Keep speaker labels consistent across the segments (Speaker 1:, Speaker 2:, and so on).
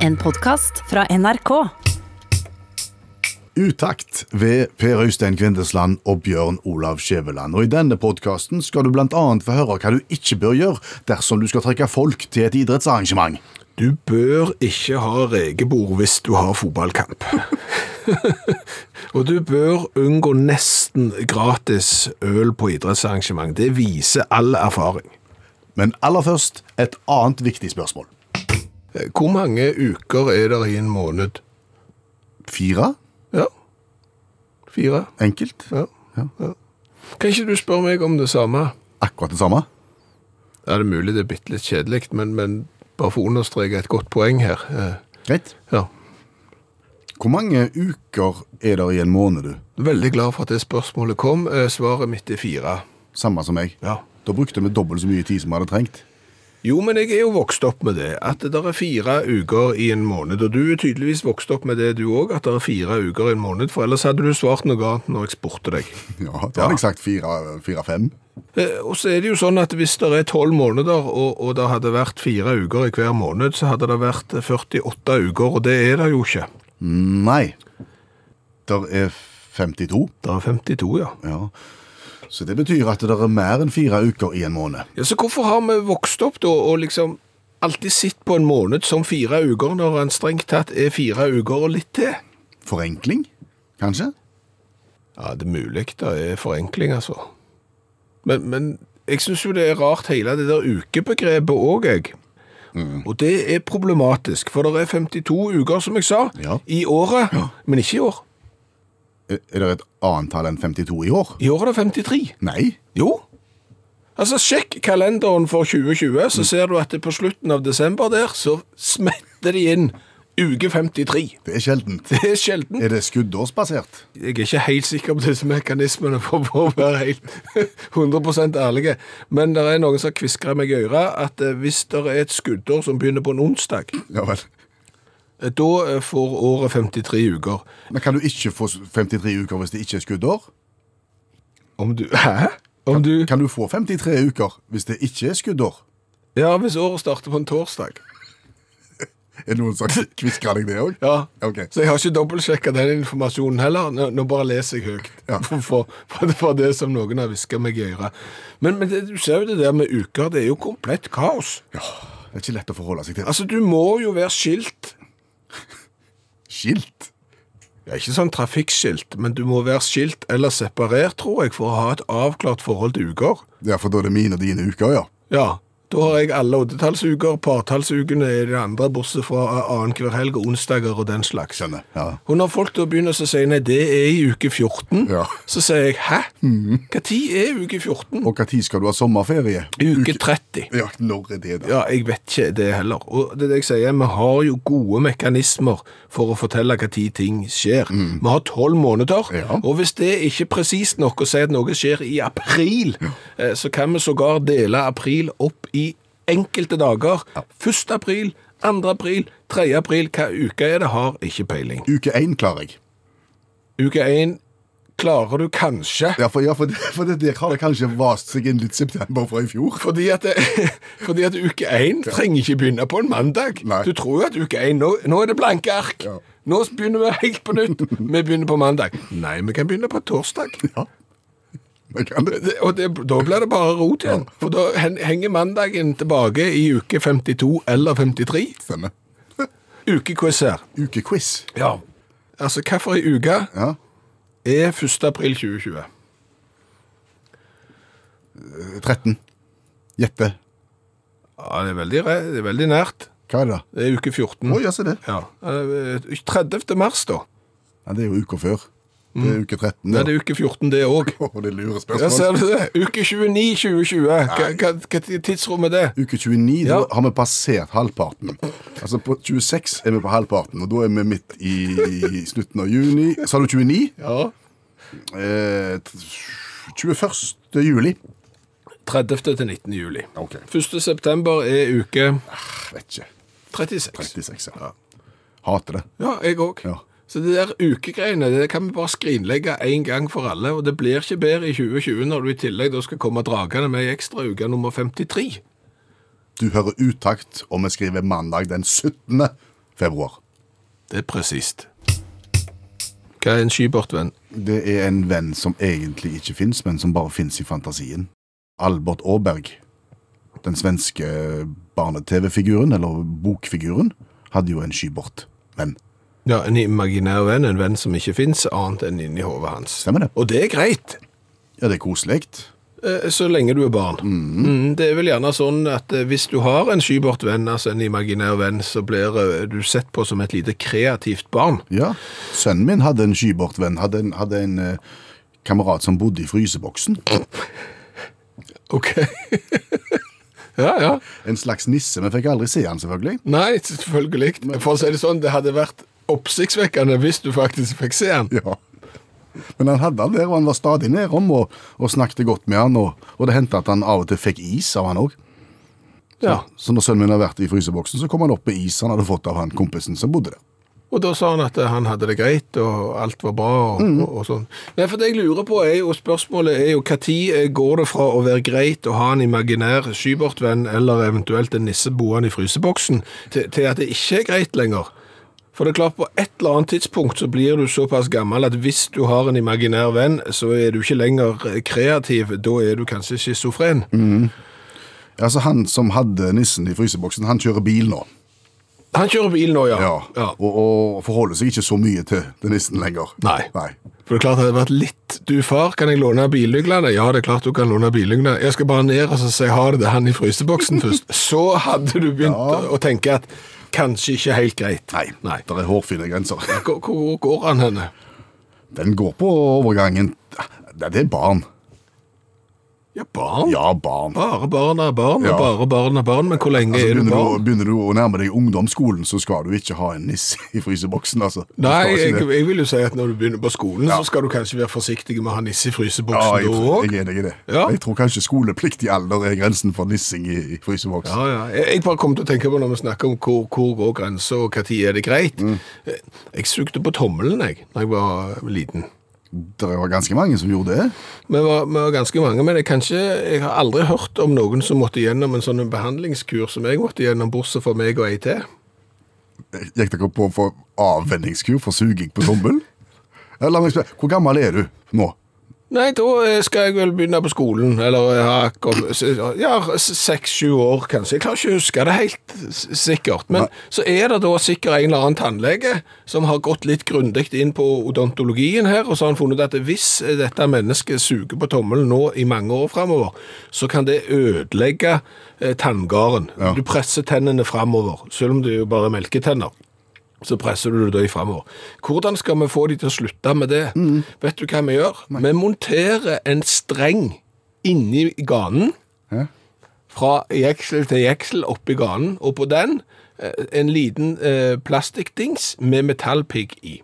Speaker 1: En podkast fra NRK.
Speaker 2: Utakt ved Per Øystein Kvindesland og Bjørn Olav Skjæveland. Og I denne podkasten skal du bl.a. få høre hva du ikke bør gjøre dersom du skal trekke folk til et idrettsarrangement.
Speaker 3: Du bør ikke ha rekebord hvis du har fotballkamp. og du bør unngå nesten gratis øl på idrettsarrangement. Det viser all erfaring.
Speaker 2: Men aller først et annet viktig spørsmål.
Speaker 3: Eh, Hvor mange uker er det i en måned?
Speaker 2: Fire?
Speaker 3: Ja. Fire.
Speaker 2: Enkelt?
Speaker 3: Ja. ja. Kan ikke du spørre meg om det samme?
Speaker 2: Akkurat det samme?
Speaker 3: Ja, det er mulig det er bitte litt kjedelig, men, men bare for å understreke et godt poeng her. Eh,
Speaker 2: Greit.
Speaker 3: Ja.
Speaker 2: Hvor mange uker er det i en måned, du?
Speaker 3: Veldig glad for at det spørsmålet kom. Eh, Svaret mitt er fire.
Speaker 2: Samme som meg.
Speaker 3: Ja.
Speaker 2: Da brukte vi dobbelt så mye tid som vi hadde trengt.
Speaker 3: Jo, men jeg er jo vokst opp med det, at det er fire uker i en måned, og du er tydeligvis vokst opp med det du òg, at det er fire uker i en måned, for ellers hadde du svart noe annet når jeg spurte deg.
Speaker 2: Ja, Da hadde jeg sagt fire- fire-fem.
Speaker 3: Eh, Og så er det jo sånn at hvis det er tolv måneder, og, og det hadde vært fire uker i hver måned, så hadde det vært 48 uker, og det er det jo ikke.
Speaker 2: Nei. Der er 52.
Speaker 3: Det er 52, ja.
Speaker 2: Ja. Så det betyr at det er mer enn fire uker i en måned.
Speaker 3: Ja, Så hvorfor har vi vokst opp da, og liksom alltid sett på en måned som fire uker, når han strengt tatt er fire uker og litt til?
Speaker 2: Forenkling, kanskje?
Speaker 3: Ja, det er mulig det er forenkling, altså. Men, men jeg syns jo det er rart hele det der ukebegrepet òg, jeg.
Speaker 2: Mm.
Speaker 3: Og det er problematisk, for det er 52 uker, som jeg sa,
Speaker 2: Ja.
Speaker 3: i året. Men ikke i år.
Speaker 2: Er er det et annet tall enn 52 i år?
Speaker 3: I år er det 53.
Speaker 2: Nei.
Speaker 3: Jo. Altså, sjekk kalenderen for 2020,
Speaker 2: Mm.
Speaker 3: så ser du at det på slutten av desember der, så smetter de inn uke 53.
Speaker 2: Det er sjeldent.
Speaker 3: Det er sjelden.
Speaker 2: Er det skuddårsbasert?
Speaker 3: jeg er ikke helt sikker på disse mekanismene for å være helt 100 ærlige, men det er noen som kviskrer meg i øret at eh, hvis det er et skuddår som begynner på en onsdag,
Speaker 2: Ja vel.
Speaker 3: eh, da eh, får året 53 uker.
Speaker 2: Men kan du ikke få 53 uker hvis det ikke er skuddår?
Speaker 3: Om du Hæ? Om du
Speaker 2: Kan du få 53 uker hvis det ikke er skuddår?
Speaker 3: Ja, hvis året starter på en torsdag.
Speaker 2: Er det noen som kvisker deg det òg?
Speaker 3: Ja.
Speaker 2: Ok.
Speaker 3: Så jeg har ikke dobbeltsjekka den informasjonen heller. Nå, nå bare leser jeg høyt.
Speaker 2: Ja.
Speaker 3: For, for, for, for det som noen har hviska meg i øret. Men, men det, du ser jo det der med uker. Det er jo komplett kaos.
Speaker 2: Ja, det er ikke lett å forholde seg til.
Speaker 3: Altså, du må jo være skilt
Speaker 2: Skilt?
Speaker 3: Ja, ikke sånn trafikkskilt, men du må være skilt eller separert, tror jeg, for å ha et avklart forhold til uker.
Speaker 2: Ja, for da er det mine og dine uker, ja.
Speaker 3: Ja, da har jeg alle oddetallsuker, partallsukene er det andre, bortsett fra annenhver helg og onsdager og den slags.
Speaker 2: Skjønner. Ja.
Speaker 3: Og når folk da begynner å si nei, det er i uke 14,
Speaker 2: Ja. Mhm.
Speaker 3: så sier jeg hæ? Hva tid er uke 14?
Speaker 2: Og når skal du ha sommerferie?
Speaker 3: Uke 30.
Speaker 2: Ja, når er det, da?
Speaker 3: Ja, jeg vet ikke det heller. Og det er det jeg sier, vi har jo gode mekanismer for å fortelle hva tid ting skjer. Vi har tolv måneder,
Speaker 2: Ja.
Speaker 3: og hvis det ikke er presist nok å si at noe skjer i april, eh, så kan vi sågar dele april opp i enkelte dager. 1. april, 2. april, 3. april, hva uke er det, har ikke peiling.
Speaker 2: Uke én klarer jeg.
Speaker 3: Uke 1 klarer du kanskje,
Speaker 2: Ja, for, ja, for, for det der har det kanskje vast seg inn litt september fra i fjor.
Speaker 3: Fordi at, fordi at uke 1 trenger ikke begynne på en mandag.
Speaker 2: Nei.
Speaker 3: Du tror jo at uke 1 nå, nå er det blanke ark.
Speaker 2: Ja.
Speaker 3: Nå begynner vi helt på nytt. Vi begynner på mandag. Nei, vi kan begynne på torsdag.
Speaker 2: Ja. Men kan det?
Speaker 3: Det- Og det, da blir det bare rot igjen. For da hen- henger mandagen tilbake i uke 52 eller 53.
Speaker 2: Stemmer.
Speaker 3: Ukequiz her.
Speaker 2: Ukequiz.
Speaker 3: Ja. Altså, hvilken uke
Speaker 2: Ja.
Speaker 3: er 1. april 2020?
Speaker 2: 13. Gjette.
Speaker 3: Ja, det er veldig, re- det er veldig nært.
Speaker 2: Hva er det, da?
Speaker 3: Det er uke 14.
Speaker 2: Å, ja, se det.
Speaker 3: Ja. Eh, 30. mars, da.
Speaker 2: Ja, det er jo uka før. Det er uke 13.
Speaker 3: Nei, Mm. det er uke 14, det òg.
Speaker 2: Å, det er lure
Speaker 3: Ja, ser
Speaker 2: spørsmål.
Speaker 3: du det? Uke 29 2020. Hva, hva, hva tidsrom er det?
Speaker 2: Uke 29
Speaker 3: Ja.
Speaker 2: da har vi passert halvparten. Altså På 26 er vi på halvparten, og da er vi midt i, i slutten av juni. Sa du 29?
Speaker 3: Ja.
Speaker 2: Eh, t- 21. juli.
Speaker 3: 30. til 19. juli.
Speaker 2: Ok.
Speaker 3: 1. september er uke
Speaker 2: Vet ikke.
Speaker 3: 36.
Speaker 2: 36, ja. Hater det.
Speaker 3: Ja, jeg òg.
Speaker 2: Ja.
Speaker 3: Så det der ukegreiene det kan vi bare skrinlegge én gang for alle. Og det blir ikke bedre i 2020 når du i tillegg da skal komme dragende med ei ekstra uke nummer 53.
Speaker 2: Du hører utakt, og vi skriver mandag den 17. februar.
Speaker 3: Det er presist. Hva er en skibortvenn?
Speaker 2: Det er en venn som egentlig ikke fins, men som bare fins i fantasien. Albert Aaberg, den svenske barne-TV-figuren, eller bokfiguren, hadde jo en skybort-venn.
Speaker 3: Ja, En imaginær venn, en venn som ikke fins annet enn inni hodet hans.
Speaker 2: Stemmer det?
Speaker 3: Og det er greit,
Speaker 2: Ja, det er koselig.
Speaker 3: eh, så lenge du er barn. Mm, det er vel gjerne sånn at eh, hvis du har en skybortvenn, altså en imaginær venn, så blir eh, du sett på som et lite kreativt barn.
Speaker 2: Ja. Sønnen min hadde en skybort-venn. Hadde en, hadde en eh, kamerat som bodde i fryseboksen.
Speaker 3: Ok. ja, ja.
Speaker 2: En slags nisse. Vi fikk aldri se han, selvfølgelig.
Speaker 3: Nei, selvfølgelig. For å si det sånn, det hadde vært oppsiktsvekkende hvis du faktisk fikk se den.
Speaker 2: Ja. Men han hadde han der, og han var stadig nedom og, og snakket godt med han. Og, og det hendte at han av og til fikk is av han òg.
Speaker 3: Ja.
Speaker 2: Så når sønnen min har vært i fryseboksen, så kom han opp med is han hadde fått av han kompisen som bodde der.
Speaker 3: Og da sa han at eh, han hadde det greit, og alt var bra, og, og, og sånn. Nei, for det jeg lurer på er jo, spørsmålet er jo, hva tid eh, går det fra å være greit å ha en imaginær skybortvenn, eller eventuelt en nisse boende i fryseboksen, til, til at det ikke er greit lenger? For det er klart, på et eller annet tidspunkt så blir du såpass gammel at hvis du har en imaginær venn, så er du ikke lenger eh, kreativ, da er du kanskje schizofren.
Speaker 2: Altså Han som hadde nissen i fryseboksen, han kjører bil nå.
Speaker 3: Han kjører bil nå, ja. ja.
Speaker 2: Og, og forholder seg ikke så mye til den nissen lenger.
Speaker 3: Nei. For det er klart det hadde vært litt Du, far, kan jeg låne bilnøklene? Ja, det er klart du kan låne bilnøklene. Jeg skal bare ned og så si ha det til han i fryseboksen først. Så hadde du begynt å- å tenke at kanskje ikke helt greit.
Speaker 2: Nei.
Speaker 3: Nei.
Speaker 2: Det er hårfine grenser.
Speaker 3: Hvor, hvor går han henne?
Speaker 2: Den går på overgangen Det det er barn.
Speaker 3: Ja, barn.
Speaker 2: Ja, barn.
Speaker 3: Bare barn er barn, og
Speaker 2: Ja.
Speaker 3: bare barn er barn. Men hvor lenge
Speaker 2: Altså,
Speaker 3: er du
Speaker 2: begynner, du,
Speaker 3: barn?
Speaker 2: å- begynner du å nærme deg ungdomsskolen, så skal du ikke ha en niss i fryseboksen. altså. Du
Speaker 3: Nei,
Speaker 2: skal ikke
Speaker 3: jeg,
Speaker 2: det.
Speaker 3: jeg vil jo si at når du begynner på skolen, så skal du kanskje være forsiktig med å ha nisse i
Speaker 2: ja,
Speaker 3: fryseboksen
Speaker 2: jeg,
Speaker 3: da
Speaker 2: tror-
Speaker 3: òg.
Speaker 2: jeg er enig i det.
Speaker 3: Ja.
Speaker 2: Jeg tror kanskje skolepliktig alder er grensen for nissing i, i fryseboks.
Speaker 3: Ja, ja. Jeg jeg bare kom til å tenke på når vi snakker om hvor, hvor går grensa, og når er det greit. Eh, Jeg sugde på tommelen jeg, da jeg var liten.
Speaker 2: Det var ganske mange som gjorde det.
Speaker 3: Vi var, vi var ganske mange, men jeg, kan ikke, jeg har aldri hørt om noen som måtte gjennom en sånn behandlingskur som jeg måtte gjennom, bortsett fra meg og ei til.
Speaker 2: Gikk dere på for avvenningskur for suging på tommel? Ja, La meg spørre, hvor gammel er du nå?
Speaker 3: Nei, da eh, skal jeg vel begynne på skolen, eller jeg har akkurat- s- ja, seks-sju år kanskje. Jeg klarer ikke å huske det helt s- sikkert. Men
Speaker 2: Nei.
Speaker 3: så er det da sikkert en eller annen tannlege som har gått litt grundig inn på odontologien her, og så har han funnet ut at hvis dette mennesket suger på tommelen nå i mange år framover, så kan det ødelegge eh, tanngarden.
Speaker 2: Ja.
Speaker 3: Du presser tennene framover, selv om det er jo bare melketenner så presser du det fremover. Hvordan skal vi få de til å slutte med det? Vet du hva vi gjør? Vi monterer en streng inni ganen,
Speaker 2: Hæ?
Speaker 3: fra jeksel til jeksel oppi ganen, og på den eh, en liten eh, plastikkdings med metallpigg i.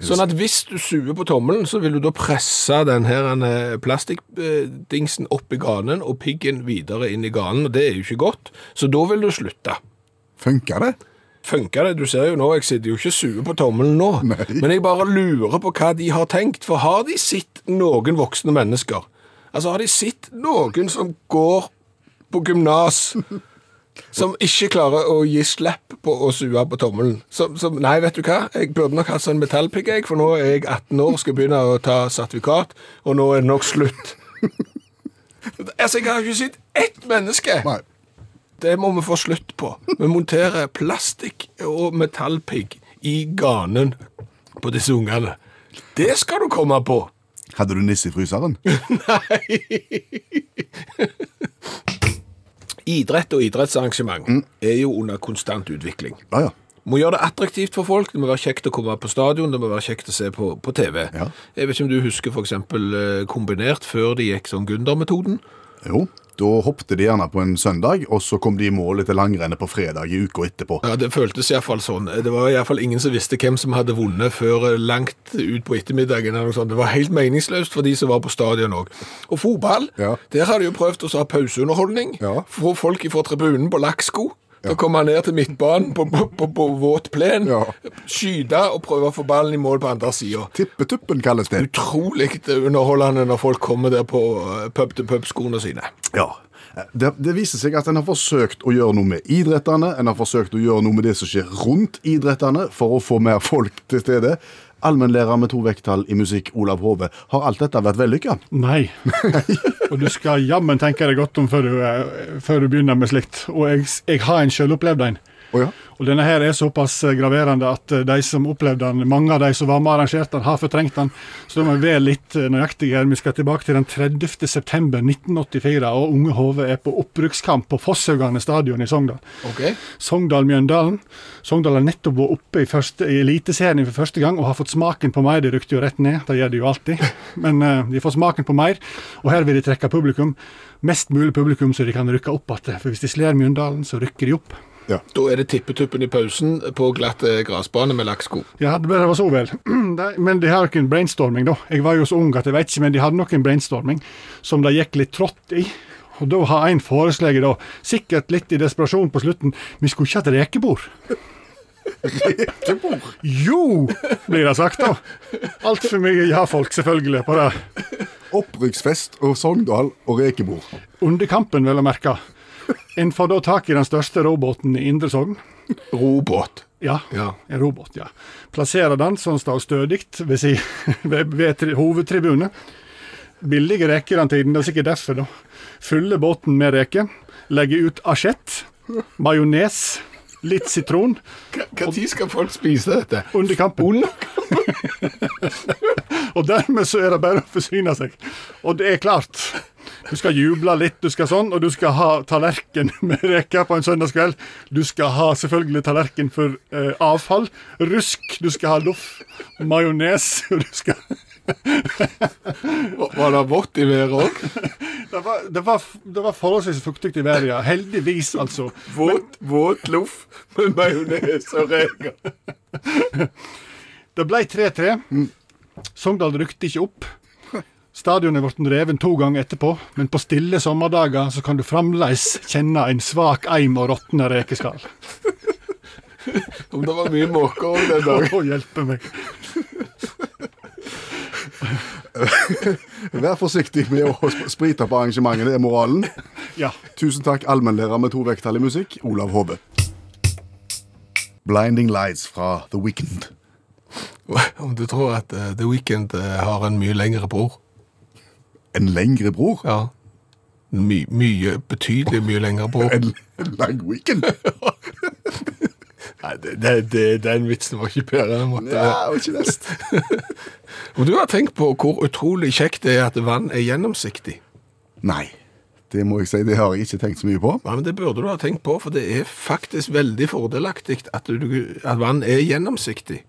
Speaker 3: Sånn at hvis du suger på tommelen, så vil du da presse den her eh, plastikkdingsen opp i ganen, og piggen videre inn i ganen, og det er jo ikke godt. Så da vil du slutte.
Speaker 2: Funker det?
Speaker 3: Funker det? Du ser jo nå, jeg sitter jo ikke og suger på tommelen nå.
Speaker 2: Nei.
Speaker 3: Men jeg bare lurer på hva de har tenkt. For har de sett noen voksne mennesker? Altså, har de sett noen som går på gymnas, som ikke klarer å gi slipp på å suge på tommelen? Som, som, nei, vet du hva, jeg burde nok hatt sånn metallpigg, jeg, for nå er jeg 18 år, skal begynne å ta sertifikat, og nå er det nok slutt. altså, jeg har ikke sett ett menneske.
Speaker 2: Nei.
Speaker 3: Det må vi få slutt på. Vi monterer plastikk og metallpigg i ganen på disse ungene. Det skal du komme på!
Speaker 2: Hadde du nisse i fryseren?
Speaker 3: Idrett og idrettsarrangement er jo under konstant utvikling.
Speaker 2: Ja, ja.
Speaker 3: Må gjøre det attraktivt for folk. Det må være kjekt å komme på stadion, det må være kjekt å se på, på TV.
Speaker 2: Ja.
Speaker 3: Jeg vet ikke om du husker f.eks. kombinert, før de gikk sånn Gunder-metoden.
Speaker 2: Jo, da hoppte de gjerne på en søndag, og så kom de i mål etter langrennet på fredag i uka etterpå.
Speaker 3: Ja, Det føltes iallfall sånn. Det var iallfall ingen som visste hvem som hadde vunnet før eh, langt ut på ettermiddagen. eller noe sånt. Det var helt meningsløst for de som var på stadion òg. Og fotball,
Speaker 2: Ja.
Speaker 3: der har de jo prøvd å ha pauseunderholdning.
Speaker 2: Ja.
Speaker 3: Få folk fra tribunen på lakksko. Da kommer han ned til midtbanen på, på, på, på våt plen,
Speaker 2: Ja.
Speaker 3: skyte og prøve å få ballen i mål på andre sida.
Speaker 2: Tippetuppen kalles det.
Speaker 3: Utrolig underholdende når folk kommer der på eh, pub-til-pub-skoene sine.
Speaker 2: Ja. Det, det viser seg at en har forsøkt å gjøre noe med idrettene, en har forsøkt å gjøre noe med det som skjer rundt idrettene, for å få mer folk til stede. Allmennlærer med to vekttall i musikk, Olav Hove, har alt dette vært vellykka?
Speaker 4: Nei. og du skal jammen tenke deg godt om før du, eh, før du begynner med slikt. Og jeg, jeg har en sjølopplevd en.
Speaker 2: Å ja.
Speaker 4: Og denne her er såpass eh, graverende at eh, de som opplevde den, mange av de som var med og arrangerte den, har fortrengt den. Så da må vi være litt eh, nøyaktige her. Vi skal tilbake til den 30. september 1984, og Unge Hove er på oppbrukskamp på Fosshaugane stadion i Sogndal.
Speaker 3: Ok.
Speaker 4: Sogndal-Mjøndalen. Sogndal har nettopp vært oppe i, første, i Eliteserien for første gang og har fått smaken på mer. De rykte jo rett ned, det gjør de jo alltid. Men eh, de får smaken på mer, og her vil de trekke publikum. Mest mulig publikum så de kan rykke opp igjen. For hvis de slår Mjøndalen, så rykker de opp.
Speaker 3: Da er det tippetuppen i pausen på glatt eh, gressbane med lakksko.
Speaker 4: Ja, det var så vel. De- Men de har noen brainstorming, da. Jeg var jo så ung at jeg vet ikke, men de hadde noen brainstorming som de gikk litt trått i. Og da har en foreslått, da, sikkert litt i desperasjon på slutten, vi skulle ikke hatt rekebord. Rekebord? Jo, blir det sagt, da. Altfor mye ja-folk, selvfølgelig, på det.
Speaker 2: Opprykksfest og Sogndal og rekebord.
Speaker 4: Under kampen, vel å merke. En får da tak i den største robåten i Indre Sogn.
Speaker 3: Robåt.
Speaker 4: Ja,
Speaker 3: Ja.
Speaker 4: en robot. ja. Plasserer den sånn står stødig ved, si, ved, ved tri, hovedtribunet. Billige reker den tiden, det er sikkert derfor. da. Fyller båten med reker. Legger ut asjett, majones, litt sitron
Speaker 3: Når skal folk spise dette?
Speaker 4: under kampen. Og dermed så er det bare å forsyne seg. Og det er klart. Du skal juble litt, du skal sånn, og du skal ha tallerken med reker på en søndagskveld. Du skal ha selvfølgelig tallerken for eh, avfall, rusk, du skal ha loff, majones og du skal...
Speaker 3: Var det vått i været òg?
Speaker 4: det, var, det, var, det var forholdsvis fuktig i været, ja. Heldigvis, altså.
Speaker 3: Våt, våt loff med majones og reker.
Speaker 4: Det ble 3-3. Sogndal rykte ikke opp. Stadionet ble reven to ganger etterpå, men på stille sommerdager så kan du fremdeles kjenne en svak eim og råtne rekeskall.
Speaker 3: Om det var mye måker òg den
Speaker 4: Å,
Speaker 3: dagen.
Speaker 4: hjelpe meg.
Speaker 2: Vær forsiktig med å sp- sprite på arrangementet, det er moralen.
Speaker 4: Ja.
Speaker 2: Tusen takk, allmennlærer med to vekttall i musikk, Olav Hove. Blinding Lights fra The Weekend.
Speaker 3: Om du tror at eh, The Weeknd eh, har en mye lengre bror?
Speaker 2: En lengre bror?
Speaker 3: Ja. My, mye, betydelig mye lengre bror.
Speaker 2: En, en lang weekend?
Speaker 3: Nei, det, det, det, den vitsen var ikke bedre. Den måtte
Speaker 2: Ja, og ikke nest.
Speaker 3: Om du har tenkt på hvor utrolig kjekt det er at vann er gjennomsiktig?
Speaker 2: Nei, det må jeg si, det har jeg ikke tenkt så mye på.
Speaker 3: Ja, men Det burde du ha tenkt på, for det er faktisk veldig fordelaktig at, du, at vann er gjennomsiktig.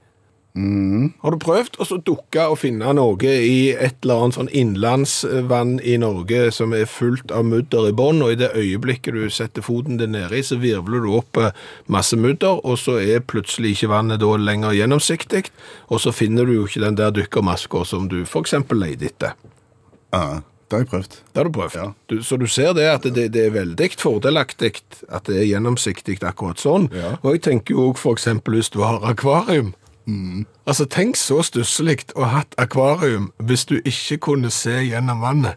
Speaker 3: Har du prøvd å så dukke og finne noe i et eller annet sånn innlandsvann i Norge som er fullt av mudder i bånn, og i det øyeblikket du setter foten din nedi, så virvler du opp eh, masse mudder, og så er plutselig ikke vannet da lenger gjennomsiktig, og så finner du jo ikke den der dykkermaska som du f.eks. leter etter.
Speaker 2: Ja, det har jeg prøvd.
Speaker 3: Det har du prøvd. Du, så du ser det at det, det er veldig fordelaktig at det er gjennomsiktig akkurat sånn.
Speaker 2: Ja.
Speaker 3: Og jeg tenker jo også for eksempel hvis du har akvarium.
Speaker 2: Mm.
Speaker 3: Altså Tenk så stusslig å ha hatt akvarium hvis du ikke kunne se gjennom vannet.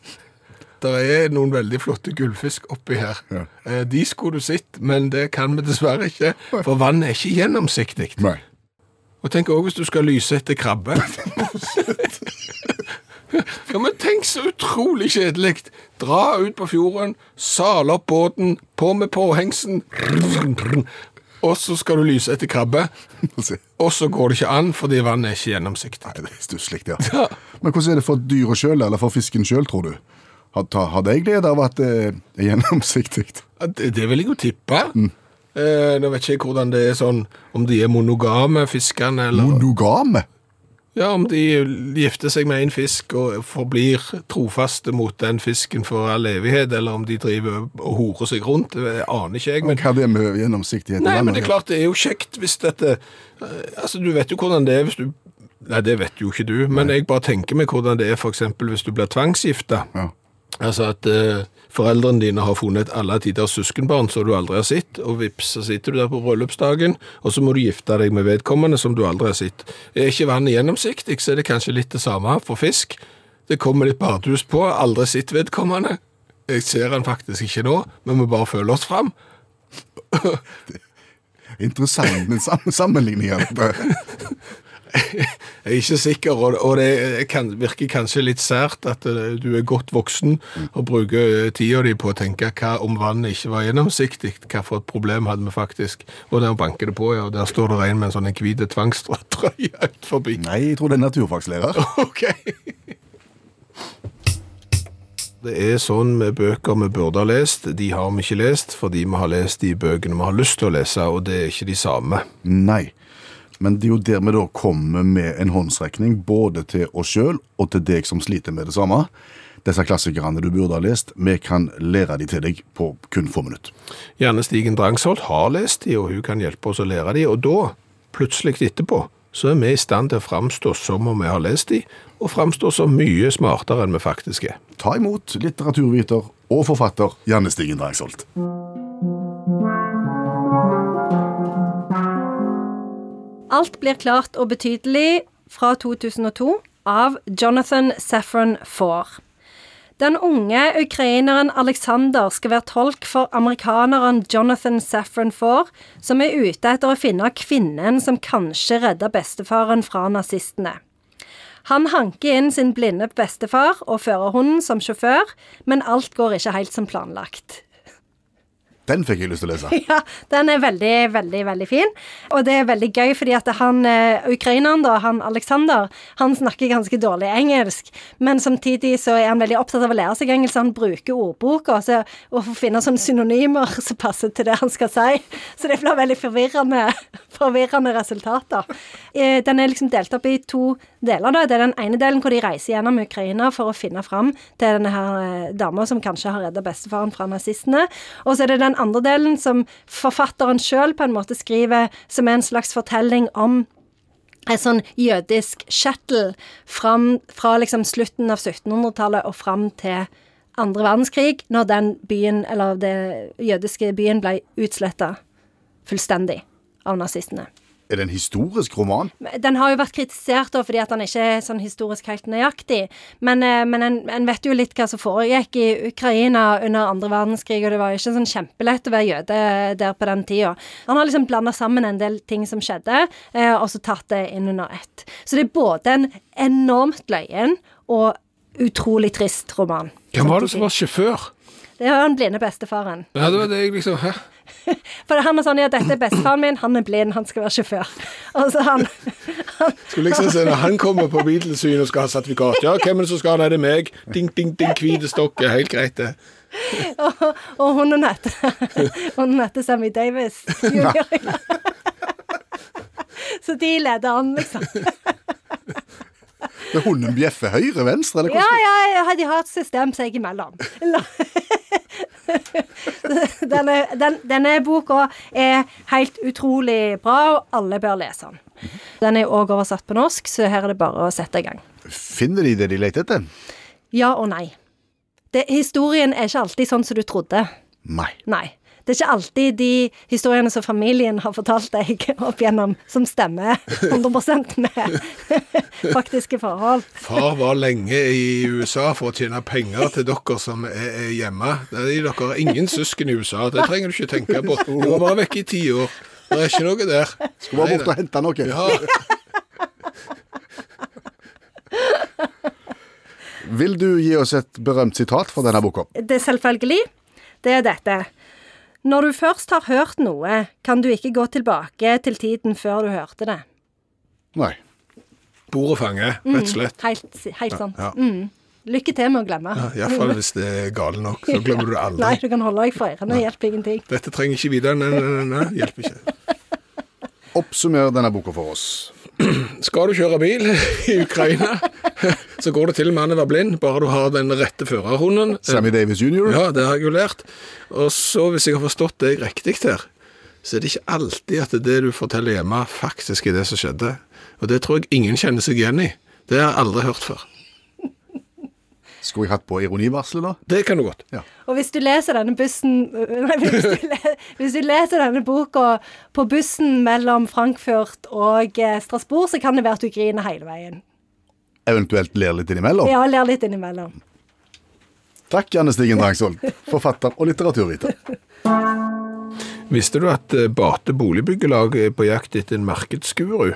Speaker 3: Det er noen veldig flotte gullfisk oppi her.
Speaker 2: Ja.
Speaker 3: Eh, de skulle du sett, men det kan vi dessverre ikke, for vannet er ikke gjennomsiktig.
Speaker 2: Nei.
Speaker 3: Og tenk òg hvis du skal lyse etter krabbe. ja, men tenk så utrolig kjedelig. Dra ut på fjorden, sale opp båten, på med påhengsen, og så skal du lyse etter krabbe.
Speaker 2: Få se.
Speaker 3: Og så går det ikke an, fordi vannet er ikke gjennomsiktig.
Speaker 2: Nei, det er stusslig, ja. Men hvordan er det for dyret sjøl, eller for fisken sjøl, tror du? Har, ta- har de glede av at det er gjennomsiktig?
Speaker 3: Ja, Det, det vil jeg jo tippe. Eh, nå vet ikke jeg hvordan det er sånn, om de er monogame fiskene, eller
Speaker 2: Monogame?
Speaker 3: Ja, om de gifter seg med en fisk og forblir trofaste mot den fisken for all evighet, eller om de driver og horer seg rundt, det aner ikke jeg.
Speaker 2: Men
Speaker 3: Men,
Speaker 2: hva er det med gjennomsiktighet i
Speaker 3: nei, men
Speaker 2: vannet?
Speaker 3: det er klart det er jo kjekt hvis dette eh, Altså, du vet jo hvordan det er hvis du Nei, det vet jo ikke du, men jeg bare tenker meg hvordan det er f.eks. hvis du blir tvangsgifta.
Speaker 2: Ja.
Speaker 3: Altså at eh, foreldrene dine har funnet et alle tiders søskenbarn som du aldri har sett, og vips, så sitter du der på bryllupsdagen, og så må du gifte deg med vedkommende som du aldri har sett. Er ikke vannet gjennomsiktig, så er det kanskje litt det samme for fisk. Det kommer litt bardus på, aldri sett vedkommende. Jeg ser den faktisk ikke nå, men vi bare føler oss fram.
Speaker 2: Interessant men sam sammenligning her.
Speaker 3: Jeg er ikke sikker, og, og det kan, virker kanskje litt sært at eh, du er godt voksen og bruker eh, tida di på å tenke hva om vannet ikke var gjennomsiktig, hva for et problem hadde vi faktisk. Og der banker det på, ja, og der står det en med en sånn en hvit tvangstrøye ut forbi.
Speaker 2: Nei, jeg tror det er naturfagslærer.
Speaker 3: Ok. Det er sånn med bøker vi burde ha lest, de har vi ikke lest, fordi vi har lest de bøkene vi har lyst til å lese, og det er ikke de samme.
Speaker 2: Nei. Men det er jo der vi da kommer med en håndsrekning både til oss sjøl og til deg som sliter med det samme. Disse klassikerne du burde ha lest, vi kan lære de til deg på kun få minutter.
Speaker 3: Gjerne Stigen Drangsholt har lest de, og hun kan hjelpe oss å lære de, og da, plutselig etterpå, så er vi i stand til å framstå som om vi har lest de, og framstå som mye smartere enn vi faktisk er.
Speaker 2: Ta imot litteraturviter og forfatter Janne Stigen Drangsholt.
Speaker 5: Alt blir klart og betydelig fra 2002 av Jonathan Safran Foer. Den unge ukraineren Alexander skal være tolk for amerikaneren Jonathan Safran Foer, som er ute etter å finne kvinnen som kanskje redda bestefaren fra nazistene. Han hanker inn sin blinde bestefar og førerhunden som sjåfør, men alt går ikke helt som planlagt.
Speaker 2: Den fikk jeg lyst til å lese.
Speaker 5: Ja, den er veldig, veldig, veldig fin. Og det er veldig gøy, fordi at han eh, ukraineren, da, han Aleksander, han snakker ganske dårlig engelsk. Men samtidig så er han veldig opptatt av å lære seg engelsk, så han bruker ordboka så, og får finne sånne synonymer som passer til det han skal si. Så det blir veldig forvirrende, forvirrende resultater. Eh, den er liksom delt opp i to deler, da. Det er den ene delen hvor de reiser gjennom Ukraina for å finne fram til denne her eh, dama som kanskje har redda bestefaren fra nazistene. Og så er det den andre delen som forfatteren sjøl på en måte skriver, som er en slags fortelling om en sånn jødisk kjettel fram, fra liksom slutten av 1700-tallet og fram til andre verdenskrig, når den byen, eller det jødiske byen, ble utsletta fullstendig av nazistene.
Speaker 2: Er det en historisk roman?
Speaker 5: Den har jo vært kritisert da, fordi at den ikke er sånn historisk helt nøyaktig. Men, eh, men en, en vet jo litt hva som foregikk i Ukraina under andre verdenskrig, og det var jo ikke sånn kjempelett å være jøde eh, der på den tida. Han har liksom blanda sammen en del ting som skjedde, eh, og så tatt det inn under ett. Så det er både en enormt løyen og utrolig trist roman.
Speaker 3: Hvem var det som var sjåfør?
Speaker 5: Det er den blinde bestefaren.
Speaker 3: Ja, det var det jeg liksom Hæ?
Speaker 5: For han er sånn ja, dette er bestefaren min, han er blind, han skal være sjåfør. Og så han, han
Speaker 3: Skulle liksom se når han kommer på biltilsyn og skal ha sertifikat. Ja, hvem er det som skal ha det? Er det meg? Ding, ding, ding, hvite stokke. Helt greit, det.
Speaker 5: og, og hunden heter Hunden heter Sammy Davis. Junior. Så de leder an, liksom.
Speaker 2: Det er hunden bjeffer høyre, venstre, eller
Speaker 5: Ja,
Speaker 2: hvordan?
Speaker 5: ja, ja, de har et system seg imellom. La- Denne, den, denne boka er helt utrolig bra, og alle bør lese den. Den er òg oversatt på norsk, så her er det bare å sette i gang.
Speaker 2: Finner de det de leter etter?
Speaker 5: Ja og nei. Det, historien er ikke alltid sånn som du trodde.
Speaker 2: Nei.
Speaker 5: Nei. Det er ikke alltid de historiene som familien har fortalt deg opp igjennom, som stemmer 100 med faktiske forhold.
Speaker 3: Far var lenge i USA for å tjene penger til dere som er, er hjemme. Det er dere har ingen søsken i USA, det trenger du ikke tenke på. Du var bare vekke i ti år. Det er ikke noe der.
Speaker 2: Skal bare bort og hente noe.
Speaker 3: Ja,
Speaker 2: Vil du gi oss et berømt sitat fra denne boka?
Speaker 5: Det er selvfølgelig, det er dette. Når du først har hørt noe, kan du ikke gå tilbake til tiden før du hørte det.
Speaker 2: Nei.
Speaker 3: bord og fange, rett og slett.
Speaker 5: Helt, helt sant.
Speaker 3: Ja.
Speaker 5: Mm. Lykke til med å glemme.
Speaker 3: Iallfall hvis det er gale nok, så glemmer du det
Speaker 5: Nei,
Speaker 3: aldri.
Speaker 5: du kan holde deg for ørene, hjelper ingenting.
Speaker 3: Dette trenger ikke videre. Nei, nei, nei, nei, hjelper ikke.
Speaker 2: Oppsummer denne boka for oss.
Speaker 3: Skal du kjøre bil i Ukraina, så går det til med han å være blind, bare du har den rette førerhunden.
Speaker 2: Sammy Davis jr.
Speaker 3: Ja, det har jeg jo lært. Og så, hvis jeg har forstått deg riktig her, så er det ikke alltid at det du forteller hjemme, faktisk er det som skjedde. Og det tror jeg ingen kjenner seg igjen i. Det har jeg aldri hørt før.
Speaker 2: Skulle jeg hatt på ironivarselet, da?
Speaker 3: Det kan du godt.
Speaker 2: Ja.
Speaker 5: Og hvis du leser denne bussen øh, Nei, hvis du, le, hvis du leser denne boka på bussen mellom Frankfurt og eh, Strasbourg, så kan det være at du griner hele veien.
Speaker 2: Eventuelt ler litt innimellom?
Speaker 5: Ja, ler litt innimellom.
Speaker 2: Takk, Janne Stigen Drangsvold, forfatter og litteraturviter.
Speaker 3: Visste du at eh, Bate Boligbyggelag er på jakt etter en markedsguru?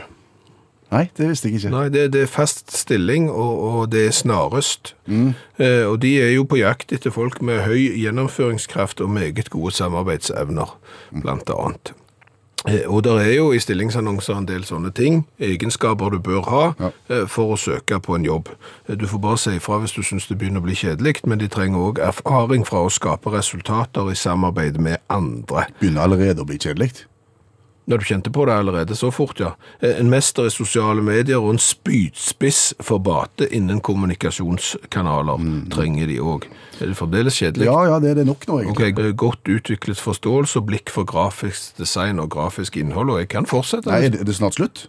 Speaker 2: Nei, det visste jeg ikke.
Speaker 3: Nei, det, det er fast stilling, og, og det er snarest.
Speaker 2: Mm.
Speaker 3: Eh, og de er jo på jakt etter folk med høy gjennomføringskraft og meget gode samarbeidsevner,
Speaker 2: Mm.
Speaker 3: blant annet. Eh, og det er jo i stillingsannonser en del sånne ting, egenskaper du bør ha
Speaker 2: Ja.
Speaker 3: eh, for å søke på en jobb. Eh, Du får bare si ifra hvis du syns det begynner å bli kjedelig, men de trenger òg erfaring fra å skape resultater i samarbeid med andre.
Speaker 2: Begynner allerede å bli kjedelig.
Speaker 3: Når du kjente på det allerede så fort, ja. Eh, En mester i sosiale medier og en spydspiss for bate innen kommunikasjonskanaler trenger de òg. Er det fremdeles kjedelig?
Speaker 2: Mm. Ja, ja, det er det nok nå,
Speaker 3: Ok, eh,
Speaker 2: egentlig.
Speaker 3: Godt utviklet forståelse og blikk for grafisk design og grafisk innhold, og jeg kan fortsette.
Speaker 2: Nei, er det- er det snart slutt?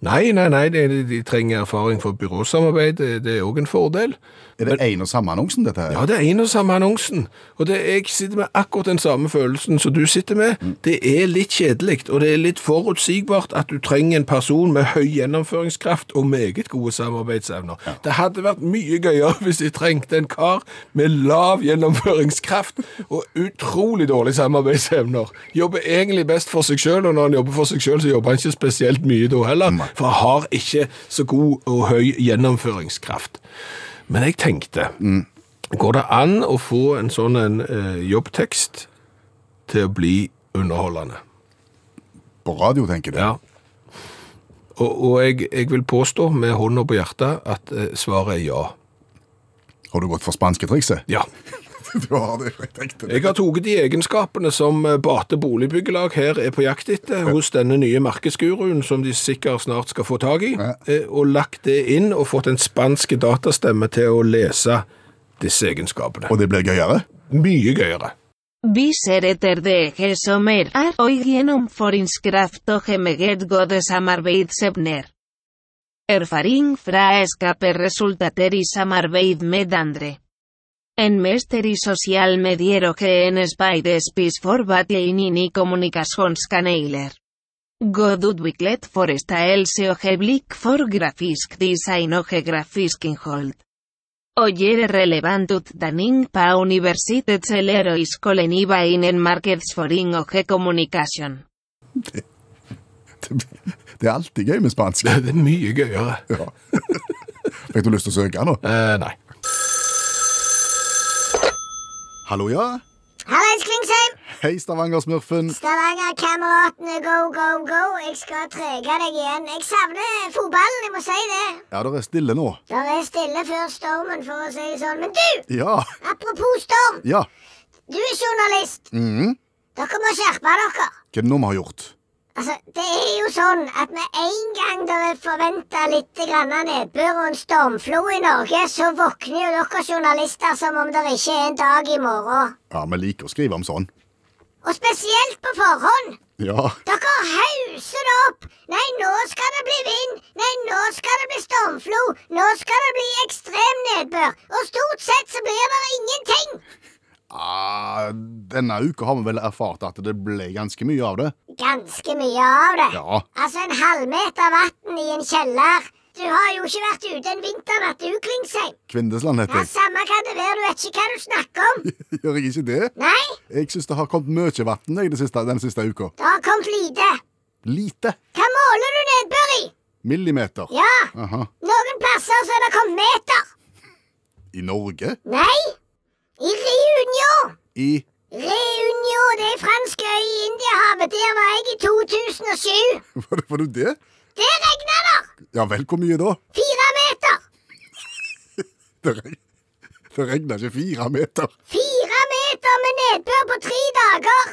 Speaker 3: nei, nei, nei de, de trenger erfaring for byråsamarbeid, det, det er òg en fordel.
Speaker 2: Er det én og samme annonsen, dette her?
Speaker 3: Ja, det er en og samme annonsen, og det, jeg sitter med akkurat den samme følelsen som du sitter med. Det er litt kjedelig, og det er litt forutsigbart at du trenger en person med høy gjennomføringskraft og meget gode samarbeidsevner. Det hadde vært mye gøyere hvis de trengte en kar med lav gjennomføringskraft og utrolig dårlige samarbeidsevner. Jobber egentlig best for seg sjøl, og når han jobber for seg sjøl, så jobber han ikke spesielt mye da heller, for han har ikke så god og høy gjennomføringskraft. Men jeg tenkte Går det an å få en sånn en, eh, jobbtekst til å bli underholdende?
Speaker 2: På radio, tenker du?
Speaker 3: Ja. Og, og jeg, jeg vil påstå med hånda på hjertet at eh, svaret er ja.
Speaker 2: Har du gått for spansketrikset?
Speaker 3: Ja.
Speaker 2: du har det, jeg tenkte det.
Speaker 3: Jeg har tatt de egenskapene som eh, Bate boligbyggelag her er på jakt etter hos denne nye markedsguruen, som de sikkert snart skal få tak i,
Speaker 2: Ja.
Speaker 3: eh, og lagt det inn og fått en spansk datastemme til å lese disse egenskapene.
Speaker 2: Og det blir gøyere?
Speaker 3: Mye gøyere.
Speaker 6: Bisereter de Gesomer er og gjennom foringskraft og hemeget godes samarbeid sebner. Erfaring fra eskape resultater i samarbeid med andre. En mester i social medier og en spider spis forbat E inn i kommunikasjonskaneiler. God utviklet for else og blikk for grafisk design og grafisk innhold. Oyer relevant ut daning pa universitet celero iskolen iba inen markets forin og communication.
Speaker 2: Det, det er alltid gøy med spansk.
Speaker 3: Det er mye gøyere.
Speaker 2: Ja. Fikk du lyst til å søke nå?
Speaker 3: Eh, nei.
Speaker 2: Hallo, ja?
Speaker 7: Hallais, Klingsheim!
Speaker 2: Hei, Stavanger-smurfen.
Speaker 7: Stavanger-kameratene, go, go, go. Jeg skal trege deg igjen. Jeg savner fotballen, jeg må si det.
Speaker 2: Ja, det er stille nå.
Speaker 7: Der er stille før stormen, for å si det sånn. Men du,
Speaker 2: Ja,
Speaker 7: apropos storm.
Speaker 2: ja.
Speaker 7: Du er journalist.
Speaker 2: Mhm.
Speaker 7: Dere må skjerpe dere.
Speaker 2: Hva er det nå vi har gjort?
Speaker 7: Altså, Det er jo sånn at med en gang det er forventa litt grann nedbør og en stormflo i Norge, så våkner jo dere journalister som om det ikke er en dag i morgen.
Speaker 2: Ja, vi liker å skrive om sånn.
Speaker 7: Og spesielt på forhånd.
Speaker 2: Ja,
Speaker 7: Dere hauser det opp! Nei, nå skal det bli vind! Nei, nå skal det bli stormflo! Nå skal det bli ekstrem nedbør! Og stort sett så blir det ingenting!
Speaker 2: ah, denne uka har vi vel erfart at det ble ganske mye av det.
Speaker 7: Ganske mye av det.
Speaker 2: Ja.
Speaker 7: Altså, en halvmeter vann i en kjeller. Du har jo ikke vært ute en vinternatt, du, Klingsheim.
Speaker 2: Kvindesland heter
Speaker 7: Ja,
Speaker 2: jeg.
Speaker 7: Samme hva det være, du vet ikke hva du snakker om.
Speaker 2: Gjør jeg ikke det?
Speaker 7: Nei,
Speaker 2: Jeg synes det har kommet mye vann jeg, det siste, den siste uka.
Speaker 7: det har kommet lite.
Speaker 2: Lite.
Speaker 7: Hva måler du nedbør i?
Speaker 2: Millimeter.
Speaker 7: Ja,
Speaker 2: Aha.
Speaker 7: noen plasser så er det kommet meter.
Speaker 2: I Norge?
Speaker 7: Nei, i Reunion.
Speaker 2: I
Speaker 7: Reunion, det er fransk øy i Indiahavet. Der var jeg i 2007.
Speaker 2: Var det, var det det?
Speaker 7: Der regna det!
Speaker 2: Ja vel, hvor mye da?
Speaker 7: Fire meter!
Speaker 2: Det, reg det regner ikke fire meter.
Speaker 7: Fire meter med nedbør på tre dager!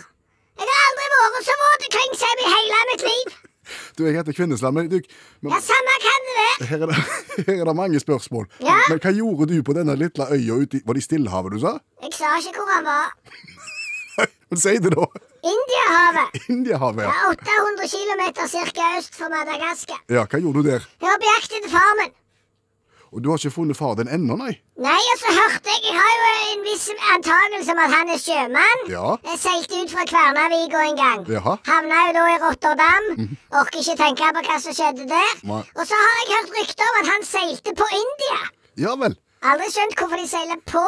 Speaker 7: Jeg har aldri vært så våt omkring seg i hele mitt liv.
Speaker 2: Du, jeg heter Kvinnesland, men, du, men
Speaker 7: Ja, samme kan det være.
Speaker 2: her, er det, her er det mange spørsmål.
Speaker 7: Ja?
Speaker 2: Men hva gjorde du på denne lille øya ute i Var det i Stillehavet du sa?
Speaker 7: Jeg sa ikke hvor han var.
Speaker 2: Men si det, da!
Speaker 7: Indiahavet.
Speaker 2: Indiahavet.
Speaker 7: Ja,
Speaker 2: ja.
Speaker 7: 800 km cirka øst for Madagaskar.
Speaker 2: Ja, hva gjorde du der?
Speaker 7: Jeg var på jakt etter far min.
Speaker 2: Og du har ikke funnet far din ennå, nei?
Speaker 7: Nei, og så hørte jeg Jeg har jo en viss antakelse om at han er sjømann.
Speaker 2: Ja.
Speaker 7: Jeg seilte ut fra Kværnavik en gang.
Speaker 2: Jaha. Mhm.
Speaker 7: Havna jo da i Rotterdam. Orker ikke tenke på hva som skjedde der.
Speaker 2: Nei.
Speaker 7: Og så har jeg hørt rykter om at han seilte på India.
Speaker 2: Ja vel.
Speaker 7: Aldri skjønt hvorfor de seiler på.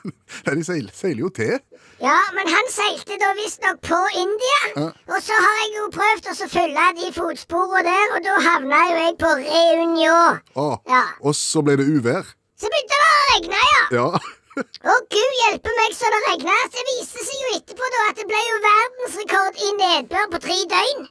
Speaker 2: Nei, de seiler, seiler jo til.
Speaker 7: Ja, men han seilte da visstnok på India. Og så har jeg jo prøvd å så følge de fotsporene der, og da havna jo jeg på Reunion.
Speaker 2: Å,
Speaker 7: Ja.
Speaker 2: Ah. Og så ble det uvær.
Speaker 7: Så begynte det å regne, ja.
Speaker 2: Ja.
Speaker 7: Å gud hjelpe meg så det regna. Det viste seg jo etterpå da at det ble jo verdensrekord i nedbør på tre døgn.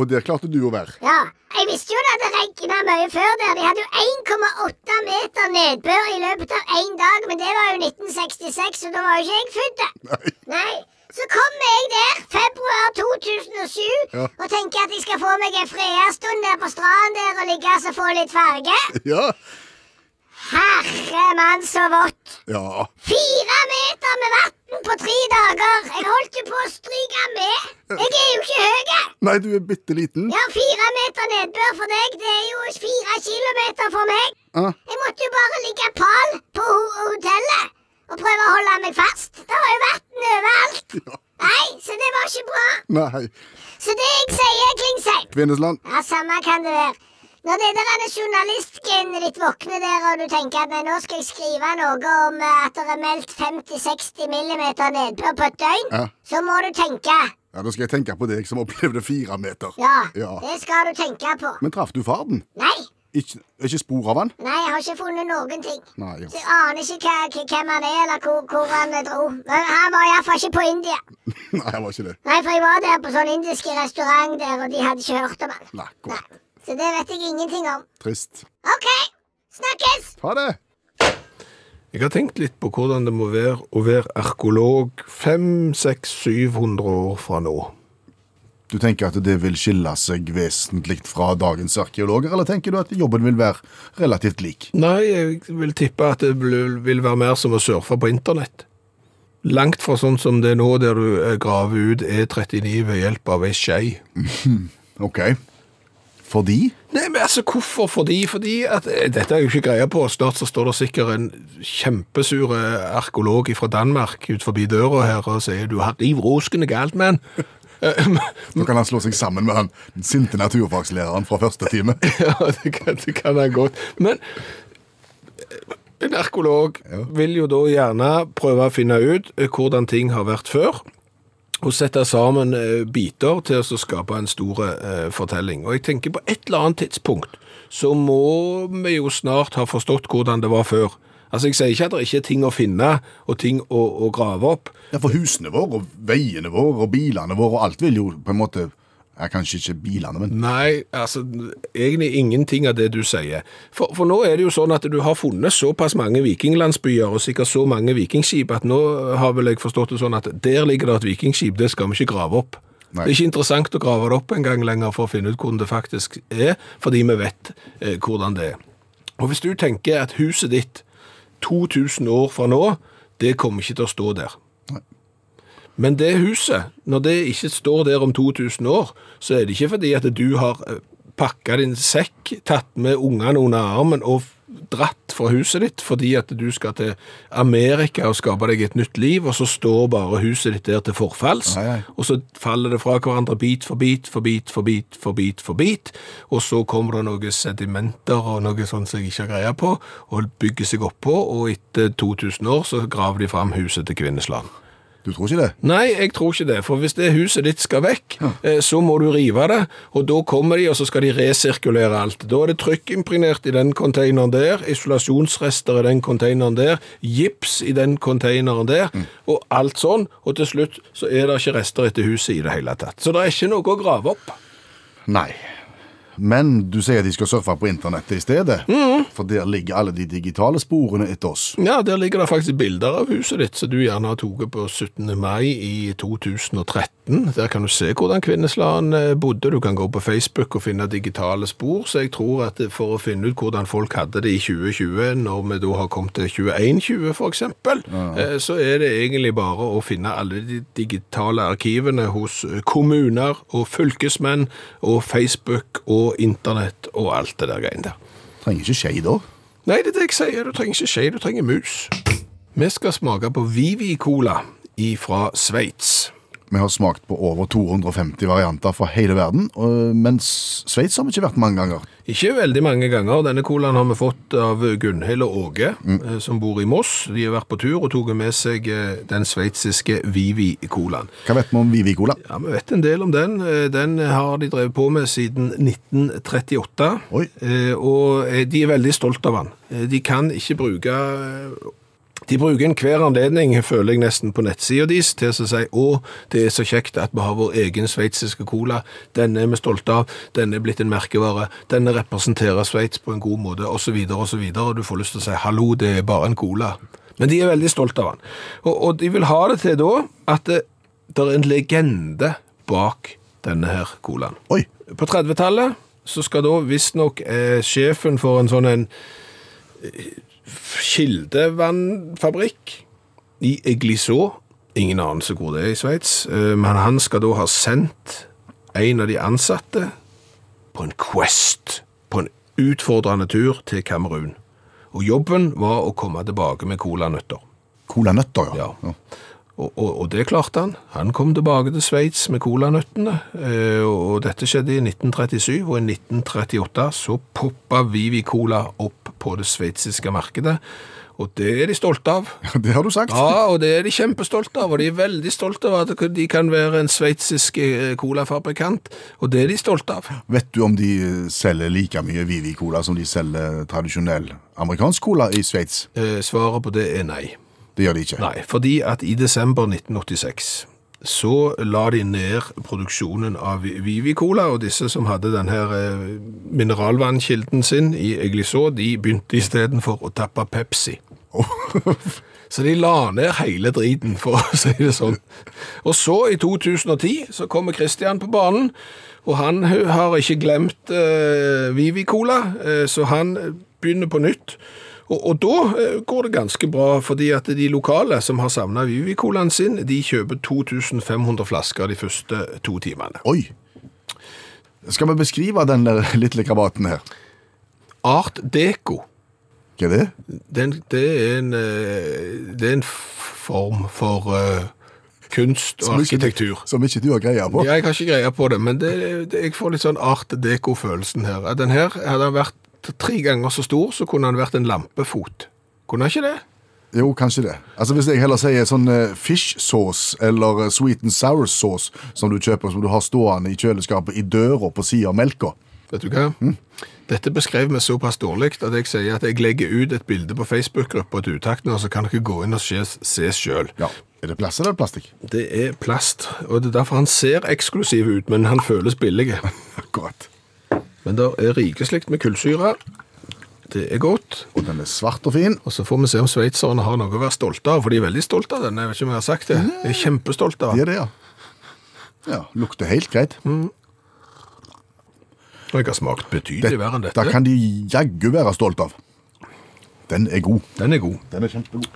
Speaker 2: Og der klarte du å være.
Speaker 7: Ja, jeg visste jo det hadde regna mye før der. De hadde jo 1,8 meter nedbør i løpet av én dag, men det var jo 1966, og da var jo ikke jeg født. Nei. Nei. Så kommer jeg der februar 2007
Speaker 2: Ja.
Speaker 7: og tenker at jeg skal få meg en fredagsstund der på stranden der og ligge og få litt farge.
Speaker 2: Ja.
Speaker 7: Herre mann, så vått!
Speaker 2: Ja.
Speaker 7: Fire meter med vann på tre dager! Jeg holdt jo på å stryke med. Jeg er jo ikke høy.
Speaker 2: Nei, du er bitte liten.
Speaker 7: Ja, fire meter nedbør for deg, det er jo fire kilometer for meg.
Speaker 2: Ja.
Speaker 7: Jeg måtte jo bare ligge pal på ho hotellet og prøve å holde meg fast. Det var jo vann overalt.
Speaker 2: Ja.
Speaker 7: Nei, så det var ikke bra.
Speaker 2: Nei.
Speaker 7: Så det jeg sier, Klingsheim
Speaker 2: Kvinnesland.
Speaker 7: Ja, samme kan det være. Når det der er journalistgenet ditt våkner der, og du tenker at nei, nå skal jeg skrive noe om eh, at det er meldt 50-60 millimeter nedbør på et døgn,
Speaker 2: Ja.
Speaker 7: så må du tenke.
Speaker 2: Ja, Da skal jeg tenke på deg som opplevde fire meter.
Speaker 7: Ja,
Speaker 2: Ja.
Speaker 7: det skal du tenke på.
Speaker 2: Men traff du farden?
Speaker 7: Nei.
Speaker 2: Ikke, ikke spor av han?
Speaker 7: Nei, jeg har ikke funnet noen ting.
Speaker 2: Nei.
Speaker 7: Så
Speaker 2: Ja.
Speaker 7: jeg aner ikke hva, hva- hvem han er, eller hvor, hvor han dro. Men han var iallfall ikke på India.
Speaker 2: Nei, han var ikke det.
Speaker 7: Nei, for jeg var der på sånn indisk restaurant der, og de hadde ikke hørt om han.
Speaker 2: Nei, godt.
Speaker 7: Så det vet jeg ingenting om.
Speaker 2: Trist.
Speaker 7: OK, snakkes!
Speaker 2: Ha det!
Speaker 3: Jeg har tenkt litt på hvordan det må være å være arkeolog 500-700 år fra nå.
Speaker 2: Du tenker at det vil skille seg vesentlig fra dagens arkeologer, eller tenker du at jobben vil være relativt lik?
Speaker 3: Nei, jeg vil tippe at det bl- vil være mer som å surfe på internett. Langt fra sånn som det er nå, der du eh, graver ut E39 ved hjelp av ei skei.
Speaker 2: Ok. Fordi?
Speaker 3: Nei, men altså, hvorfor? Fordi, fordi at eh, Dette er jo ikke greia på. Snart så står det sikkert en kjempesur eh, arkeolog fra Danmark ut forbi døra her og sier du har riv roskende galt, mann.
Speaker 2: Da kan han slå seg sammen med han den sinte naturfagslæreren fra første time.
Speaker 3: Ja, det kan, det kan han godt. Men eh, en arkeolog vil jo da gjerne prøve å finne ut eh, hvordan ting har vært før, og sette sammen eh, biter til å så skape en stor eh, fortelling. Og jeg tenker på et eller annet tidspunkt så må vi jo snart ha forstått hvordan det var før. Altså, Jeg sier ikke at det ikke er ting å finne og ting å, å grave opp,
Speaker 2: Ja, For husene våre, og veiene våre, og bilene våre, og alt vil jo på en måte ja, Kanskje ikke bilene, men
Speaker 3: Nei, altså egentlig ingenting av det du sier. For, for nå er det jo sånn at du har funnet såpass mange vikinglandsbyer og sikkert så mange vikingskip at nå har vel jeg forstått det sånn at der ligger det et vikingskip, det skal vi ikke grave opp.
Speaker 2: Nei.
Speaker 3: Det er ikke interessant å grave det opp en gang lenger for å finne ut hvordan det faktisk er, fordi vi vet eh, hvordan det er. Og hvis du tenker at huset ditt 2000 år fra nå, det kommer ikke til å stå der. Men det huset, når det ikke står der om 2000 år, så er det ikke fordi at du har eh, pakka din sekk, tatt med ungene under armen og f- dratt fra huset ditt fordi at du skal til Amerika og skape deg et nytt liv, og så står bare huset ditt der til forfalls,
Speaker 2: Nei, nei.
Speaker 3: og så faller det fra hverandre bit for bit for bit for bit for bit for bit, og så kommer det noen sedimenter og noe sånt som jeg ikke har greie på, og bygger seg oppå, og etter 2000 år så graver de fram huset til Kvinnesland.
Speaker 2: du tror ikke det?
Speaker 3: Nei, jeg tror ikke det, for hvis det huset ditt skal vekk, eh, så må du rive det, og da kommer de, og så skal de resirkulere alt. Da er det trykkimpregnert i den containeren der, isolasjonsrester i den containeren der, gips i den containeren der, og alt sånn, og til slutt så er det ikke rester etter huset i det hele tatt. Så det er ikke noe å grave opp.
Speaker 2: Nei. Men du sier de skal surfe på internettet i stedet? For der ligger alle de digitale sporene etter oss.
Speaker 3: Ja, der ligger det faktisk bilder av huset ditt, som du gjerne har tatt på 17. mai i 2013. Der kan du se hvordan Kvinnesland eh, bodde. Du kan gå på Facebook og finne digitale spor. Så jeg tror at for å finne ut hvordan folk hadde det i 2020, når vi da har kommet til 2120 for eksempel, eh, så er det egentlig bare å finne alle de digitale arkivene hos kommuner og fylkesmenn og Facebook og internett og alt det der greiene der.
Speaker 2: Trenger ikke skje da.
Speaker 3: Nei, det er det jeg sier. Du trenger ikke skje, du trenger mus. Vi skal smake på Vivi-cola fra Sveits.
Speaker 2: Vi har smakt på over 250 varianter fra hele verden, og- men S- Sveits har vi ikke vært mange ganger.
Speaker 3: Ikke veldig mange ganger. Denne colaen har vi fått av Gunnhild og Åge, eh, som bor i Moss. De har vært på tur og tok med seg eh, den sveitsiske Vivi-colaen.
Speaker 2: Hva vet vi om Vivi Cola?
Speaker 3: Ja, Vi vet en del om den. Eh, Den har de drevet på med siden 1938.
Speaker 2: Oi.
Speaker 3: Eh, Og eh, de er veldig stolt av den. Eh, De kan ikke bruke eh, De bruker enhver anledning, føler jeg nesten, på nettsida deres til å si å, det er så kjekt at vi har vår egen sveitsiske cola. Denne er vi stolte av. Denne er blitt en merkevare. Denne representerer Sveits på en god måte, osv., osv. Og du får lyst til å si hallo, det er bare en cola. Men de er veldig stolte av den. Og, og de vil ha det til da at eh, det er en legende bak denne her colaen.
Speaker 2: Oi,
Speaker 3: På 30-tallet så skal da visstnok eh, sjefen for en sånn en eh, kildevannfabrikk i Egliså, ingen anelse hvor det er i Sveits, eh, men han skal da ha sendt en av de ansatte på en quest, på en utfordrende tur til Kamerun. Og jobben var å komme tilbake med colanøtter.
Speaker 2: colanøtter, ja.
Speaker 3: Ja. Og, og, og det klarte han. Han kom tilbake til Sveits med colanøttene, eh, og og dette skjedde i 1937, og i 1938 så poppa Vivi Cola opp på det sveitsiske markedet, og det er de stolte av.
Speaker 2: Ja, Det har du sagt.
Speaker 3: Ja, og det er de kjempestolte av, og de er veldig stolte av at de kan være en sveitsisk eh, colafabrikant, og det er de stolte av.
Speaker 2: Vet du om de eh, selger like mye Vivi Cola som de selger tradisjonell amerikansk cola i Sveits?
Speaker 3: Eh, Svaret på det er nei.
Speaker 2: Det gjør de ikke.
Speaker 3: Nei, fordi at i desember 1986 så la de ned produksjonen av Vivi-Cola, og disse som hadde denne mineralvannkilden sin i Egliså, de begynte istedenfor å tappe Pepsi. Så de la ned hele driten, for å si det sånn. Og så, i 2010, så kommer Christian på banen, og han hu- har ikke glemt eh, Vivi Cola, eh, så han begynner på nytt. Og, og da eh, går det ganske bra, fordi at de lokale som har savna Vivi Colaen sin, de kjøper 2500 flasker de første to timene.
Speaker 2: Oi! Skal vi beskrive den der lille krabaten her?
Speaker 3: Art Deco,
Speaker 2: Hva er det?
Speaker 3: den, det, er en, eh, det er en form for eh, kunst og
Speaker 2: Som ikke-
Speaker 3: arkitektur.
Speaker 2: Som ikke du har greie på?
Speaker 3: Ja, jeg har ikke greie på det, men det, det, jeg får litt sånn art deco-følelsen her. At Den her hadde han vært tre ganger så stor, så kunne han vært en lampefot. Kunne han ikke det?
Speaker 2: Jo, kanskje det. Altså Hvis jeg heller sier sånn eh, fish sauce eller eh, sweet and sour sauce som du kjøper som du har stående i kjøleskapet i døra på sida av melka
Speaker 3: Vet du hva? Dette beskrev vi såpass dårlig at jeg sier at jeg legger ut et bilde på Facebook-gruppa til utakten, og så kan dere gå inn og se, se selv.
Speaker 2: Ja, Er det plast eller er det plastikk?
Speaker 3: Det er plast, og det er derfor han ser eksklusiv ut, men han føles billig.
Speaker 2: Akkurat.
Speaker 3: Men det er rikeslikt med kullsyre. Det er godt.
Speaker 2: Og den er svart og fin.
Speaker 3: Og så får vi se om sveitserne har noe å være stolte av, for de er veldig stolte av den. Jeg vet ikke om jeg har sagt det. Jeg er kjempestolt av
Speaker 2: Det er
Speaker 3: den.
Speaker 2: det, ja. Ja, Lukter helt greit.
Speaker 3: Og jeg har smakt betydelig verre enn
Speaker 2: Da
Speaker 3: dette.
Speaker 2: kan de jaggu være stolt av. Den er god.
Speaker 3: Den er god.
Speaker 2: Den er kjempegod.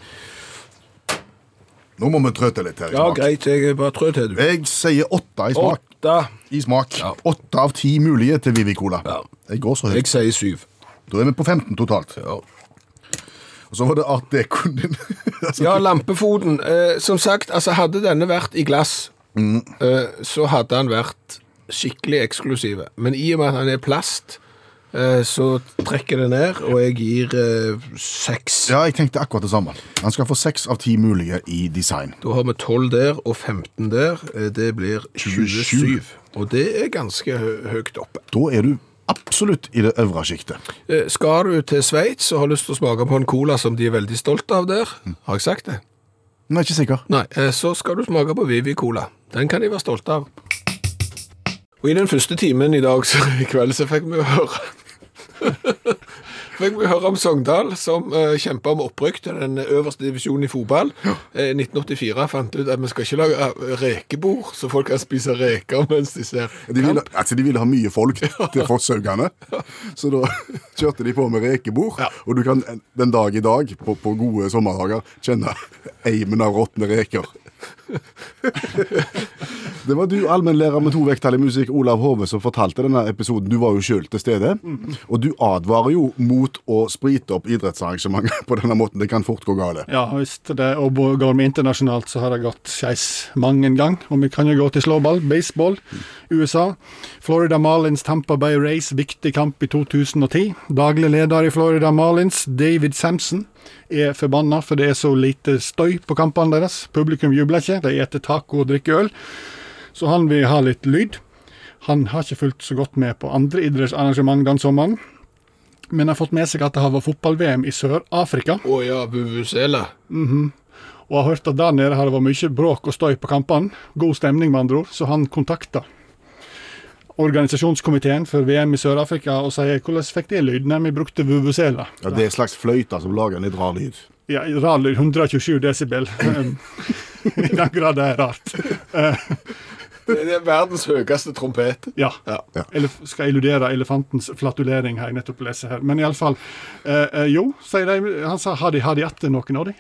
Speaker 2: Nå må vi trø til litt her i
Speaker 3: Ja,
Speaker 2: smak.
Speaker 3: greit. Jeg bare trø til, du.
Speaker 2: Jeg sier åtte i smak.
Speaker 3: Åtte.
Speaker 2: I smak.
Speaker 3: Ja.
Speaker 2: Åtte av ti mulige til Vivi Cola.
Speaker 3: Ja.
Speaker 2: Jeg går så høyt.
Speaker 3: Jeg sier syv.
Speaker 2: Da er vi på 15 totalt.
Speaker 3: Ja.
Speaker 2: Og så var det art decoen din. altså,
Speaker 3: Ja, lampefoten. Eh, som sagt, altså hadde denne vært i glass,
Speaker 2: Mm.
Speaker 3: eh, så hadde han vært skikkelig eksklusiv. Men i og med at han er plast, eh, så trekker det ned, og jeg gir eh, seks.
Speaker 2: ja, jeg tenkte akkurat det samme. Han skal få seks av ti mulige i design.
Speaker 3: Da har vi 12 der og 15 der. Eh, Det blir 27. Og det er ganske hø- høyt oppe.
Speaker 2: Da er du absolutt i det øvre sjiktet.
Speaker 3: Eh, Skal du til Sveits og har lyst til å smake på en cola som de er veldig stolte av der, har jeg sagt det?
Speaker 2: Men jeg er ikke sikker.
Speaker 3: Nei, eh, så skal du smake på Vivi Cola. Den kan de være stolte av. Og i den første timen i dag, så i kveld, så fikk vi jo høre Fikk vi høre om Sogndal, som uh, kjempa om opprykk til den øverste divisjonen i fotball. Eh, 1984 fant ut at vi skal ikke lage eh, rekebord, så folk kan spise reker mens de ser
Speaker 2: De ville, altså, de ville ha mye folk til Fosshaugane, så da kjørte de på med rekebord.
Speaker 3: Ja.
Speaker 2: Og du kan den dag i dag, på, på gode sommerdager, kjenne eimen av råtne reker. Det var du, allmennlærer med to vekttall i musikk, Olav Hove, som fortalte denne episoden. Du var jo sjøl til stede. Og du advarer jo mot å sprite opp idrettsarrangementer på denne måten. Det kan fort gå galt.
Speaker 4: Ja, hvis det og bo- går vi internasjonalt, så har det gått skeis mange ganger. Og vi kan jo gå til slåball, baseball, USA. Florida Marlins Tampa Bay Race, viktig kamp i 2010. Daglig leder i Florida Marlins, David Sampson, er forbanna for det er så lite støy på kampene deres. Publikum jubler ikke, de eter taco og drikker øl. Så han vil ha litt lyd. Han har ikke fulgt så godt med på andre idrettsarrangement den sommeren. Men har fått med seg at det har vært fotball-VM i Sør-Afrika.
Speaker 3: Å ja, vuvuzela.
Speaker 4: og har hørt at der nede har det vært mye bråk og støy på kampene. God stemning, med andre ord, så han kontakta organisasjonskomiteen for VM i Sør-Afrika og sier hvordan fikk de lyden Nei, vi brukte vuvuzela.
Speaker 2: Ja, det er en slags fløyte som lager en litt rar lyd.
Speaker 4: Ja, rar lyd, 127 desibel. Um, I den grad det er rart.
Speaker 3: Det det er verdens høyeste trompet.
Speaker 4: Ja.
Speaker 3: Ja.
Speaker 4: Eller skal jeg illudere elefantens flatulering, har jeg nettopp lest her. Men iallfall. Eh, eh, jo, sier de. Han sa har de, har de hatt noen av de?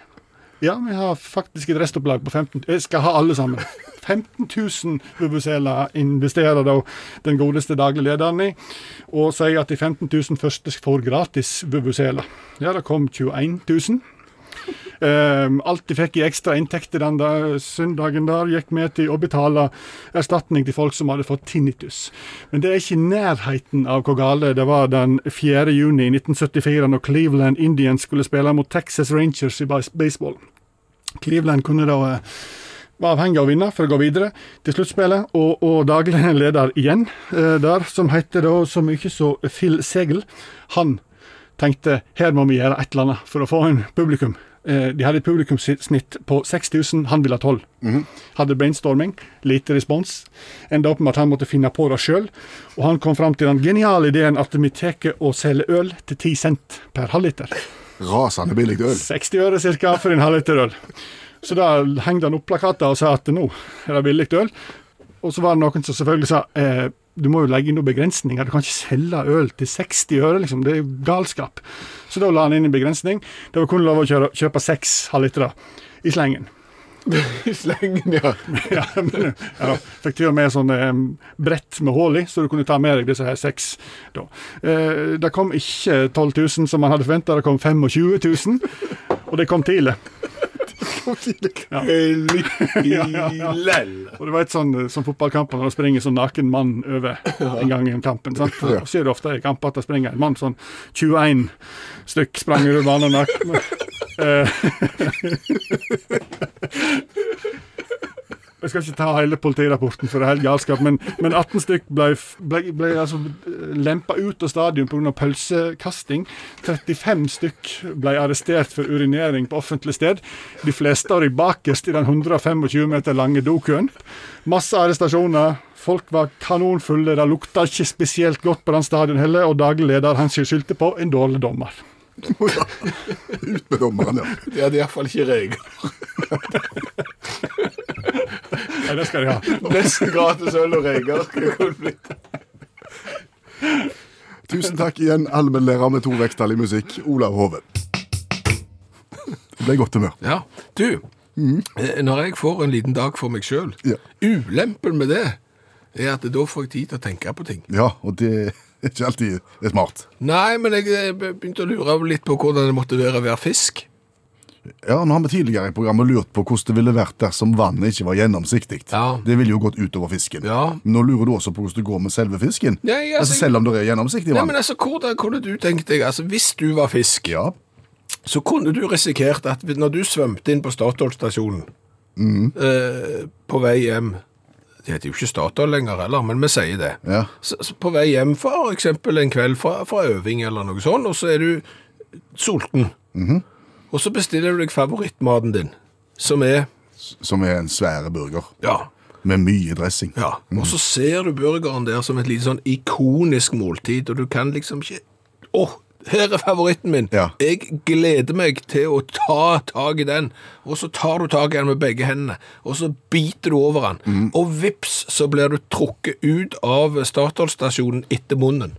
Speaker 4: Ja, vi har faktisk et restopplag på 15 Jeg skal ha alle sammen. 15 000 Vuvuzela investerer da den godeste daglige lederen i, og sier at de 15 000 første får gratis Vuvuzela. Ja, det kom 21 000. Um, alt de fikk i ekstra inntekter den der søndagen der, gikk med til å betale erstatning til folk som hadde fått tinnitus. Men det er ikke i nærheten av hvor gale det var den 4. juni 1974 når Cleveland Indians skulle spille mot Texas Rangers i bas- baseball. Cleveland kunne da eh, var avhengig av å vinne for å gå videre til sluttspillet, og, og daglig leder igjen eh, der, som heter da så mye så Phil Segel, han tenkte her må vi gjøre et eller annet for å få en publikum. Eh, De hadde et publikumssnitt på 6000, han ville ha 12. Hadde brainstorming, lite respons. Enda opp med at han måtte finne på det sjøl. Og han kom fram til den geniale ideen at vi tar og selger øl til 10 cent per halvliter.
Speaker 2: Rasende billig øl.
Speaker 4: 60 øre ca. for en halvliter øl. Så da hengte han opp plakater og sa at nå er det billig øl. Og så var det noen som selvfølgelig sa eh, du må jo legge inn noen begrensninger, du kan ikke selge øl til 60 øre, liksom. Det er jo galskap. Så da la han inn en begrensning. Det var kun lov å kjøre, kjøpe seks halvlitere i slengen.
Speaker 3: I slengen, ja.
Speaker 4: ja, men, ja, fikk til og med sånn eh, brett med hull i, så du kunne ta med deg disse her seks. Da. Eh, det kom ikke 12 000 som man hadde forventa, det kom 25 000. Og det kom tidlig.
Speaker 3: Lell.
Speaker 4: Og du vet sånn eh, som fotballkamper, når det springer sånn naken mann over en gang i kampen. sant? Og så ser du ofte i kamper at det springer en mann sånn 21 stykk sprang over banen naken. Eh, Jeg skal ikke ta hele politirapporten, for det er helt galskap, men, men 18 stykk ble, f- ble, ble altså lempa ut av stadion pga. pølsekasting. 35 stykk ble arrestert for urinering på offentlig sted. De fleste av de bakerst i den 125 meter lange dokøen. Masse arrestasjoner. Folk var kanonfulle, det lukta ikke spesielt godt på den stadion heller, og daglig leder han skyldte på en dårlig dommer.
Speaker 2: Ut med dommeren, ja.
Speaker 3: De hadde iallfall ikke regler.
Speaker 4: Nei, det skal de ha.
Speaker 3: Nesten gratis øl og regler. skulle det kunne blitt.
Speaker 2: Tusen takk igjen, allmennlærer med to vekttall i musikk, Olav Hove. Det ble godt humør.
Speaker 3: Ja, du, eh, når jeg får en liten dag for meg sjøl,
Speaker 2: Ja.
Speaker 3: ulempen med det er at da får jeg tid til å tenke på ting.
Speaker 2: Ja, og det er ikke alltid det er smart.
Speaker 3: Nei, men jeg eh, be- begynte å lure litt på hvordan det måtte være å være fisk.
Speaker 2: Ja, nå har vi tidligere i programmet lurt på hvordan det ville vært dersom vannet ikke var gjennomsiktig.
Speaker 3: Ja.
Speaker 2: Det ville jo gått utover fisken.
Speaker 3: Ja.
Speaker 2: Men nå lurer du også på hvordan det går med selve fisken.
Speaker 3: Nei, altså-
Speaker 2: altså, selv om det er gjennomsiktig
Speaker 3: Nei,
Speaker 2: vann.
Speaker 3: men altså, Hvordan kunne du tenkt deg altså, Hvis du var fisk,
Speaker 2: Ja,
Speaker 3: så kunne du risikert at når du svømte inn på Statoil-stasjonen eh, på vei hjem Det heter jo ikke Statoil lenger heller, men vi sier det.
Speaker 2: Ja.
Speaker 3: Så, så på vei hjem for eksempel en kveld fra, fra øving eller noe sånt, og så er du sulten. Og så bestiller du deg favorittmaten din, som er
Speaker 2: som er en svære burger.
Speaker 3: Ja.
Speaker 2: Med mye dressing.
Speaker 3: ja. Og så ser du burgeren der som et lite sånn ikonisk måltid, og du kan liksom ikke Å, her er favoritten min!
Speaker 2: Ja.
Speaker 3: Jeg gleder meg til å ta tak i den. Og så tar du tak i den med begge hendene, og så biter du over den. Og vips, så blir du trukket ut av Statoil-stasjonen etter munnen.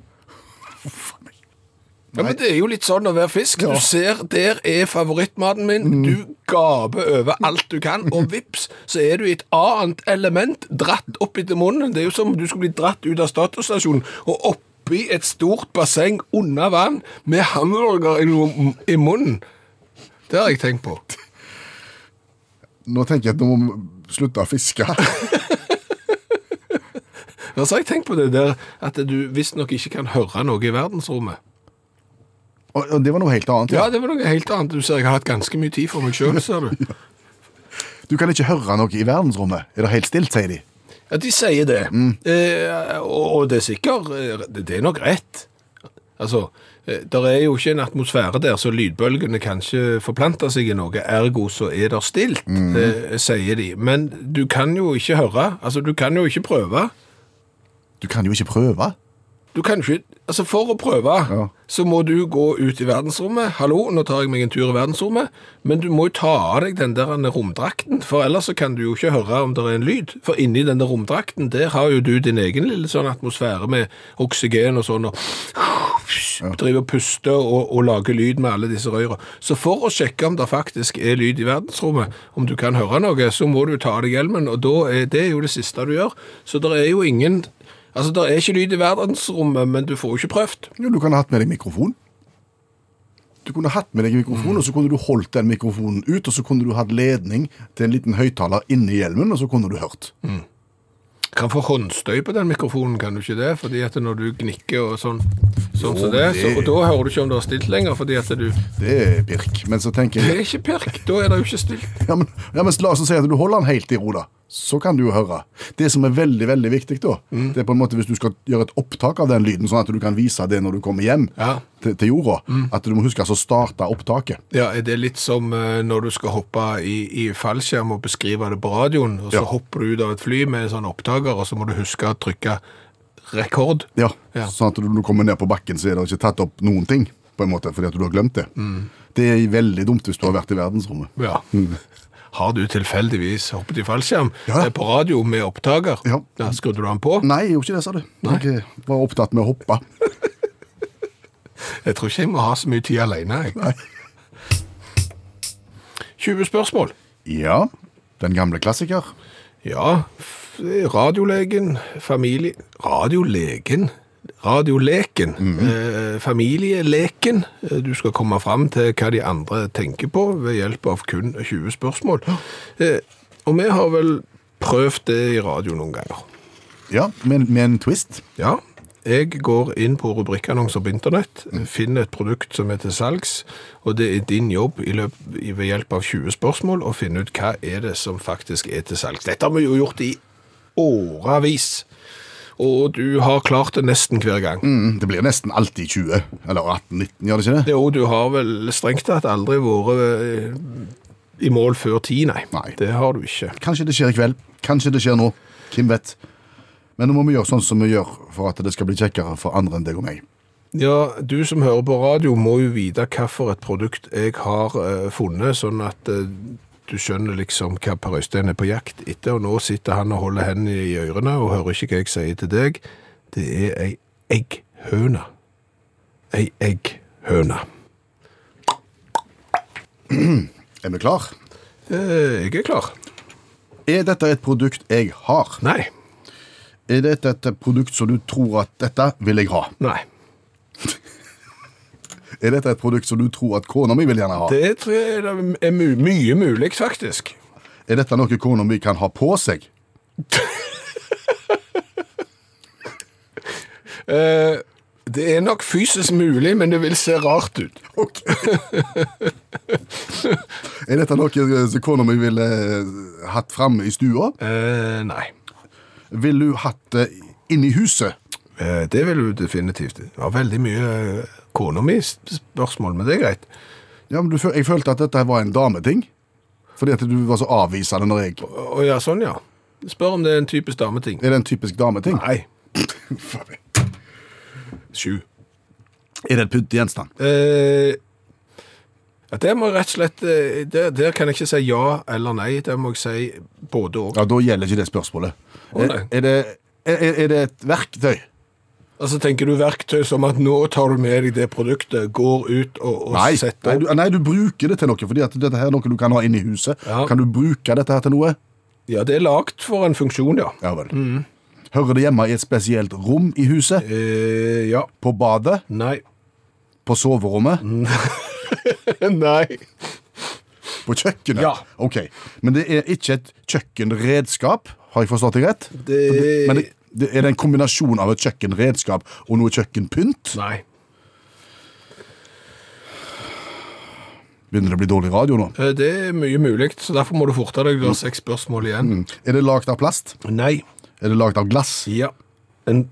Speaker 3: Ja, men Det er jo litt sånn å være fisk. Du ser der er favorittmaten min, du gaper over alt du kan, og vips, så er du i et annet element dratt opp etter munnen. Det er jo som om du skulle bli dratt ut av statusstasjonen og oppi et stort basseng under vann med hamburger i, no- i munnen. Det har jeg tenkt på.
Speaker 2: Nå tenker jeg at nå må vi slutte å fiske.
Speaker 3: Ja, så har jeg tenkt på det der at du visstnok ikke kan høre noe i verdensrommet.
Speaker 2: Og, og det var noe helt annet.
Speaker 3: Ja, det var noe helt annet. Du ser jeg har hatt ganske mye tid for meg sjøl, ser du.
Speaker 2: Du kan ikke høre noe i verdensrommet. Er det helt stilt, sier de.
Speaker 3: Ja, de sier det. Eh, og, og det er sikkert eh, Det er nok rett. Altså, det er jo ikke en atmosfære der, så lydbølgene kan ikke forplante seg i noe. Ergo så er det stilt, eh, sier de. Men du kan jo ikke høre. Altså, du kan jo ikke prøve.
Speaker 2: Du kan jo ikke prøve.
Speaker 3: Du kan ikke Altså, for å prøve,
Speaker 2: Ja.
Speaker 3: så må du gå ut i verdensrommet. Hallo, nå tar jeg meg en tur i verdensrommet. Men du må jo ta av deg den der romdrakten, for ellers så kan du jo ikke høre om det er en lyd. For inni den der romdrakten, der har jo du din egen lille sånn atmosfære med oksygen og sånn, og driver og puster og, og lager lyd med alle disse røyra. Så for å sjekke om det faktisk er lyd i verdensrommet, om du kan høre noe, så må du ta av deg hjelmen, og da er det jo det siste du gjør. Så det er jo ingen Altså, Det er ikke lyd i verdensrommet, men du får jo ikke prøvd.
Speaker 2: Jo, du kan ha hatt med deg mikrofon. Du kunne hatt med deg mikrofon, og så kunne du holdt den mikrofonen ut, og så kunne du hatt ledning til en liten høyttaler inni hjelmen, og så kunne du hørt.
Speaker 3: Kan få håndstøy på den mikrofonen, kan du ikke det? Fordi at når du gnikker og sånn, sånn som
Speaker 2: Jo,
Speaker 3: det, så,
Speaker 2: det-
Speaker 3: og da hører du ikke om det er stilt lenger, fordi at du
Speaker 2: Det er pirk. Men så tenker jeg
Speaker 3: Det er ikke pirk, da er det jo ikke stilt.
Speaker 2: ja, men, ja, men La oss si at du holder den helt i ro, da. Så kan du jo høre. Det som er veldig veldig viktig, da, det er på en måte hvis du skal gjøre et opptak av den lyden, sånn at du kan vise det når du kommer hjem
Speaker 3: Ja. Mm.
Speaker 2: til, til jorda, at du må huske altså, å starte opptaket.
Speaker 3: Ja, er det litt som eh, når du skal hoppe i, i fallskjerm og beskrive det på radioen, og så
Speaker 2: Ja.
Speaker 3: hopper du ut av et fly med en sånn opptaker, og så må du huske å trykke rekord.
Speaker 2: Ja,
Speaker 3: Ja.
Speaker 2: Sånn at når du kommer ned på bakken, så er det ikke tatt opp noen ting. på en måte, Fordi at du har glemt det.
Speaker 3: Mm.
Speaker 2: Det er veldig dumt hvis du har vært i verdensrommet.
Speaker 3: Ja. Har du tilfeldigvis hoppet i fallskjerm
Speaker 2: Mm. Ja.
Speaker 3: eh, på radio med opptaker?
Speaker 2: Ja. Mm.
Speaker 3: Skrudde du den på?
Speaker 2: Nei, jeg gjorde ikke det, sa du. Jeg var opptatt med å hoppe.
Speaker 3: Jeg tror ikke jeg må ha så mye tid alene. Jeg. 20 spørsmål.
Speaker 2: Ja, den gamle klassiker.
Speaker 3: Ja, f- radiolegen, familie... Radiolegen? Radioleken. eh, familieleken. Eh, Du skal komme fram til hva de andre tenker på ved hjelp av kun 20 spørsmål. Eh, og vi har vel prøvd det i radio noen ganger.
Speaker 2: Ja, Med, med en twist.
Speaker 3: Ja, jeg går inn på rubrikkannonser på internett,
Speaker 2: Mm.
Speaker 3: finner et produkt som er til salgs, og det er din jobb i løp, i- ved hjelp av 20 spørsmål å finne ut hva er det som faktisk er til salgs. Dette har vi jo gjort i årevis, og du har klart det nesten hver gang.
Speaker 2: Mm, Det blir nesten alltid 20. Eller 18-19, gjør det ikke det?
Speaker 3: Jo, du har vel strengt tatt aldri vært eh, i mål før ti, nei.
Speaker 2: Nei.
Speaker 3: Det har du ikke.
Speaker 2: Kanskje det skjer i kveld. Kanskje det skjer nå. Hvem vet. Men nå må vi gjøre sånn som vi gjør for at det skal bli kjekkere for andre enn deg og meg.
Speaker 3: Ja, du som hører på radio må jo vite hva for et produkt jeg har eh, funnet, sånn at eh, du skjønner liksom hva Per Øystein er på jakt etter, og nå sitter han og holder hendene i ørene og hører ikke hva jeg sier til deg. Det er ei egghøne. Ei egghøne.
Speaker 2: Er vi klar?
Speaker 3: Eh, Jeg er klar.
Speaker 2: Er dette et produkt jeg har?
Speaker 3: Nei.
Speaker 2: Er dette et produkt som du tror at dette vil jeg ha?
Speaker 3: Nei.
Speaker 2: Er dette et produkt som du tror at kona mi vil gjerne ha?
Speaker 3: Det tror jeg er er mu- mye mulig, faktisk.
Speaker 2: Er dette noe kona mi kan ha på seg?
Speaker 3: Eh, Det er nok fysisk mulig, men det vil se rart ut.
Speaker 2: Ok. er dette noe eh, som kona mi ville eh, hatt framme i stua?
Speaker 3: Eh, Nei.
Speaker 2: Ville hun hatt det inni huset?
Speaker 3: Eh, Det vil du definitivt. Det var veldig mye eh, kona mi s- spørsmål, men det er greit.
Speaker 2: Ja, men du, føl- Jeg følte at dette var en dameting. Fordi at du var så avvisende når jeg
Speaker 3: Å ja, sånn ja. Spør om det er en typisk dameting.
Speaker 2: Er det en typisk dameting?
Speaker 3: Nei. Sju.
Speaker 2: Er det en pyntegjenstand?
Speaker 3: Eh, ja, det må jeg rett og slett eh, der, der kan jeg ikke si ja eller nei. Der må jeg si både og.
Speaker 2: Ja, da gjelder ikke det spørsmålet.
Speaker 3: Å,
Speaker 2: Er,
Speaker 3: nei.
Speaker 2: er, det, er, er det et verktøy?
Speaker 3: Altså Tenker du verktøy som at nå tar du med deg det produktet, går ut og, og
Speaker 2: Nei, nei,
Speaker 3: setter
Speaker 2: du,
Speaker 3: opp?
Speaker 2: nei, du bruker det til noe, fordi at dette her er noe du kan ha inne i huset.
Speaker 3: Ja.
Speaker 2: Kan du bruke dette her til noe?
Speaker 3: Ja, det er lagd for en funksjon, ja.
Speaker 2: Ja vel.
Speaker 3: Mm.
Speaker 2: Hører det hjemme i et spesielt rom i huset?
Speaker 3: Eh, ja.
Speaker 2: På badet?
Speaker 3: Nei.
Speaker 2: På soverommet?
Speaker 3: Mm. nei.
Speaker 2: På kjøkkenet?
Speaker 3: Ja.
Speaker 2: Ok, Men det er ikke et kjøkkenredskap, har jeg forstått det rett?
Speaker 3: Det-
Speaker 2: Men det, det er det en kombinasjon av et kjøkkenredskap og noe kjøkkenpynt?
Speaker 3: Nei.
Speaker 2: Begynner det å bli dårlig radio nå?
Speaker 3: Eh, Det er mye mulig, så derfor må du forte deg. Du har seks spørsmål igjen.
Speaker 2: Er det lagd av plast?
Speaker 3: Nei.
Speaker 2: Er det lagd av glass?
Speaker 3: Ja. En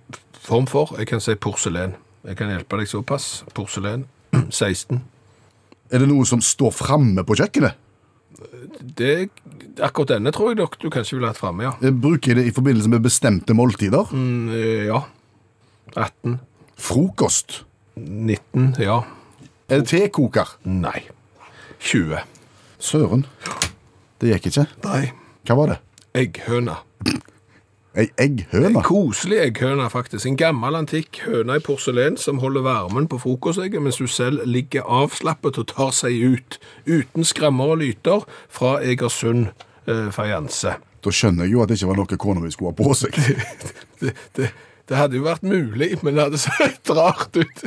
Speaker 3: form for Jeg kan si porselen. Jeg kan hjelpe deg såpass. Porselen 16.
Speaker 2: Er det noe som står framme på kjøkkenet?
Speaker 3: Det, akkurat denne tror jeg nok du kanskje ville hatt framme, ja.
Speaker 2: Eh, Bruker jeg det i forbindelse med bestemte måltider?
Speaker 3: Mm, eh, ja. 18.
Speaker 2: Frokost?
Speaker 3: 19. Ja.
Speaker 2: Er det tekoker?
Speaker 3: Nei. 20.
Speaker 2: Søren. Det gikk ikke.
Speaker 3: Nei.
Speaker 2: Hva var det?
Speaker 3: Egghøna.
Speaker 2: Ei egghøne?
Speaker 3: En koselig egghøne, faktisk. En gammel, antikk høne i porselen som holder varmen på frokostegget mens hun selv ligger avslappet og tar seg ut. Uten skrammer og lyter fra Egersund eh, fajanse.
Speaker 2: Da skjønner jeg jo at det ikke var noe kona mi skulle ha på seg.
Speaker 3: Det, det, det hadde jo vært mulig, men det hadde sett rart ut.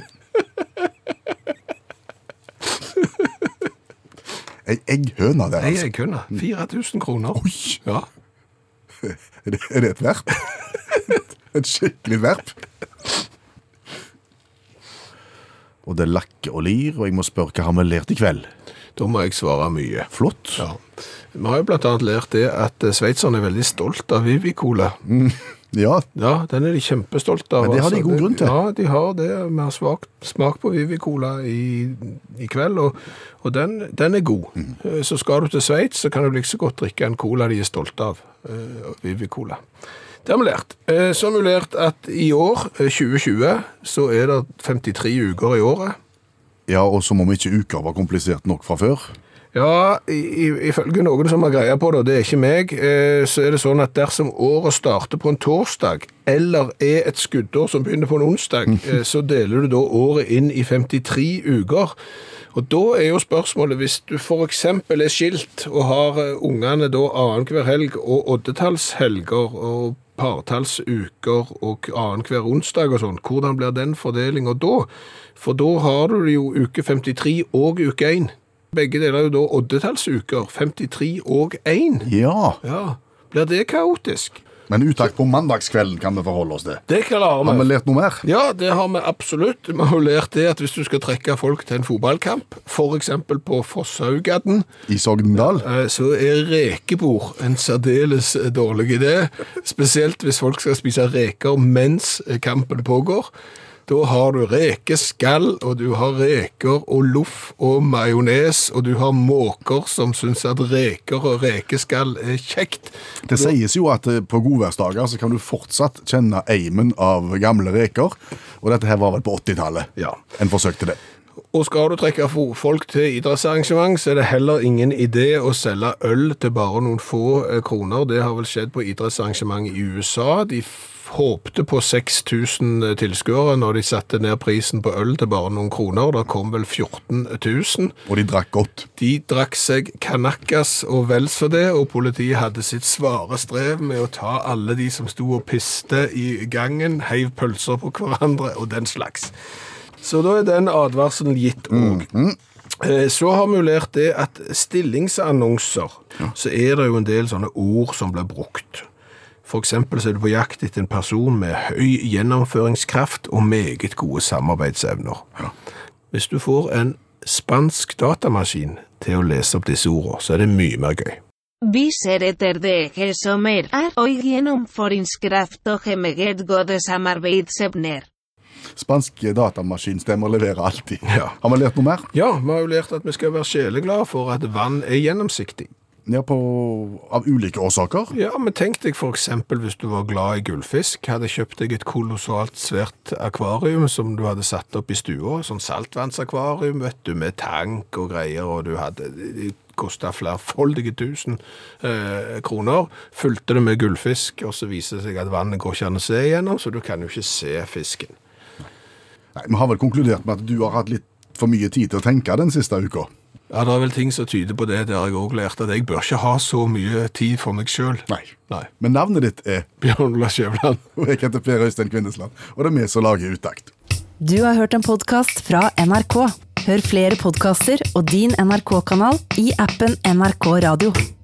Speaker 2: Ei egghøne der,
Speaker 3: Ei
Speaker 2: altså.
Speaker 3: egghøne. 4000 kroner.
Speaker 2: Oi,
Speaker 3: Ja.
Speaker 2: er det, er det et verp? Et skikkelig verp? Og det lakker og lir, og jeg må spørre hva har vi lært i kveld?
Speaker 3: Da må jeg svare mye.
Speaker 2: Flott.
Speaker 3: Ja. Vi har jo blant annet lært det at eh, sveitserne er veldig stolt av Vivi-cola.
Speaker 2: Ja,
Speaker 3: Ja, den er de kjempestolte av. altså.
Speaker 2: Men det har de god grunn til.
Speaker 3: Ja, de har det. Vi har svak, smak på Vivi-cola i, i kveld, og, og den, den er god.
Speaker 2: Mhm.
Speaker 3: Eh, Så skal du til Sveits, så kan du like så godt drikke en cola de er stolte av. eh, Vivi-cola. Det har vi lært. Eh, Så har vi lært at i år, eh, 2020, så er det 53 uker i året.
Speaker 2: ja og som om ikke uka var komplisert nok fra før.
Speaker 3: Ja, i- i- ifølge noen som har greie på det, og det er ikke meg, eh, så er det sånn at dersom året starter på en torsdag, eller er et skuddår som begynner på en onsdag, eh, så deler du da året inn i 53 uker. Og da er jo spørsmålet, hvis du for eksempel er skilt, og har eh, ungene da annenhver helg, og oddetallshelger, og partallsuker og annenhver onsdag og sånn, hvordan blir den fordelinga da? For da har du jo uke 53 og uke 1. Begge deler er jo da oddetallsuker, 53 og 1.
Speaker 2: Ja,
Speaker 3: Ja, blir det kaotisk?
Speaker 2: men uttak på mandagskvelden kan vi forholde oss til.
Speaker 3: Det klarer
Speaker 2: Har vi
Speaker 3: vi.
Speaker 2: lært noe mer?
Speaker 3: Ja, det har vi absolutt. Vi har jo lært det at hvis du skal trekke folk til en fotballkamp, f.eks. på Fossaugadden,
Speaker 2: I Sogndal?
Speaker 3: eh, så er rekebord en særdeles eh, dårlig idé. Spesielt hvis folk skal spise reker mens eh, kampen pågår. Da har du rekeskall, og du har reker og loff og majones, og du har måker som syns at reker og rekeskall er kjekt.
Speaker 2: Det sies jo at eh, på godværsdager så kan du fortsatt kjenne eimen av gamle reker. Og dette her var vel på 80-tallet
Speaker 3: Ja.
Speaker 2: en forsøkte det.
Speaker 3: Og skal du trekke fo- folk til idrettsarrangement, så er det heller ingen idé å selge øl til bare noen få eh, kroner. Det har vel skjedd på idrettsarrangement i USA. De f- håpte på 6000 tilskuere når de satte ned prisen på øl til bare noen kroner. Da kom vel 14 000.
Speaker 2: Og de drakk godt.
Speaker 3: De drakk seg kanakkas og vel så det, og politiet hadde sitt svare strev med å ta alle de som sto og piste i gangen, heiv pølser på hverandre og den slags. Så da er den advarselen gitt òg. Eh, Så har vi jo lært det at stillingsannonser, så er det jo en del sånne ord som blir brukt. For eksempel så er du på jakt etter en person med høy gjennomføringskraft og meget gode samarbeidsevner. Hvis du får en spansk datamaskin til å lese opp disse ordene, så er det mye mer gøy.
Speaker 6: Viser etter det he som er, er og gjennom foringskraft og hemeget godes samarbeidsevner.
Speaker 2: Spanske datamaskinstemmer leverer alltid.
Speaker 3: Ja.
Speaker 2: Har vi lært noe mer?
Speaker 3: Ja, vi har jo lært at vi skal være sjeleglade for at vann er gjennomsiktig.
Speaker 2: Ja, på, av ulike årsaker.
Speaker 3: Ja, men tenk deg for eksempel hvis du var glad i gullfisk, hadde kjøpt deg et kolossalt svært akvarium som du hadde satt opp i stua, sånn saltvannsakvarium, vet du, med tank og greier, og du hadde det kosta flerfoldige tusen eh, kroner. Fulgte det med gullfisk, og så viser det seg at vannet går ikke an å se igjennom, så du kan jo ikke se fisken.
Speaker 2: Nei, Vi har vel konkludert med at du har hatt litt for mye tid til å tenke den siste uka.
Speaker 3: Ja, det er vel ting som tyder på det, det har jeg òg lært, at jeg bør ikke ha så mye tid for meg sjøl.
Speaker 2: Nei. Men navnet ditt er
Speaker 3: Bjørn Ola Skjæveland.
Speaker 2: Og jeg heter Per Øystein Kvindesland, og det er vi som lager Utakt.
Speaker 1: Du har hørt en podkast fra NRK. Hør flere podkaster og din NRK-kanal i appen NRK Radio.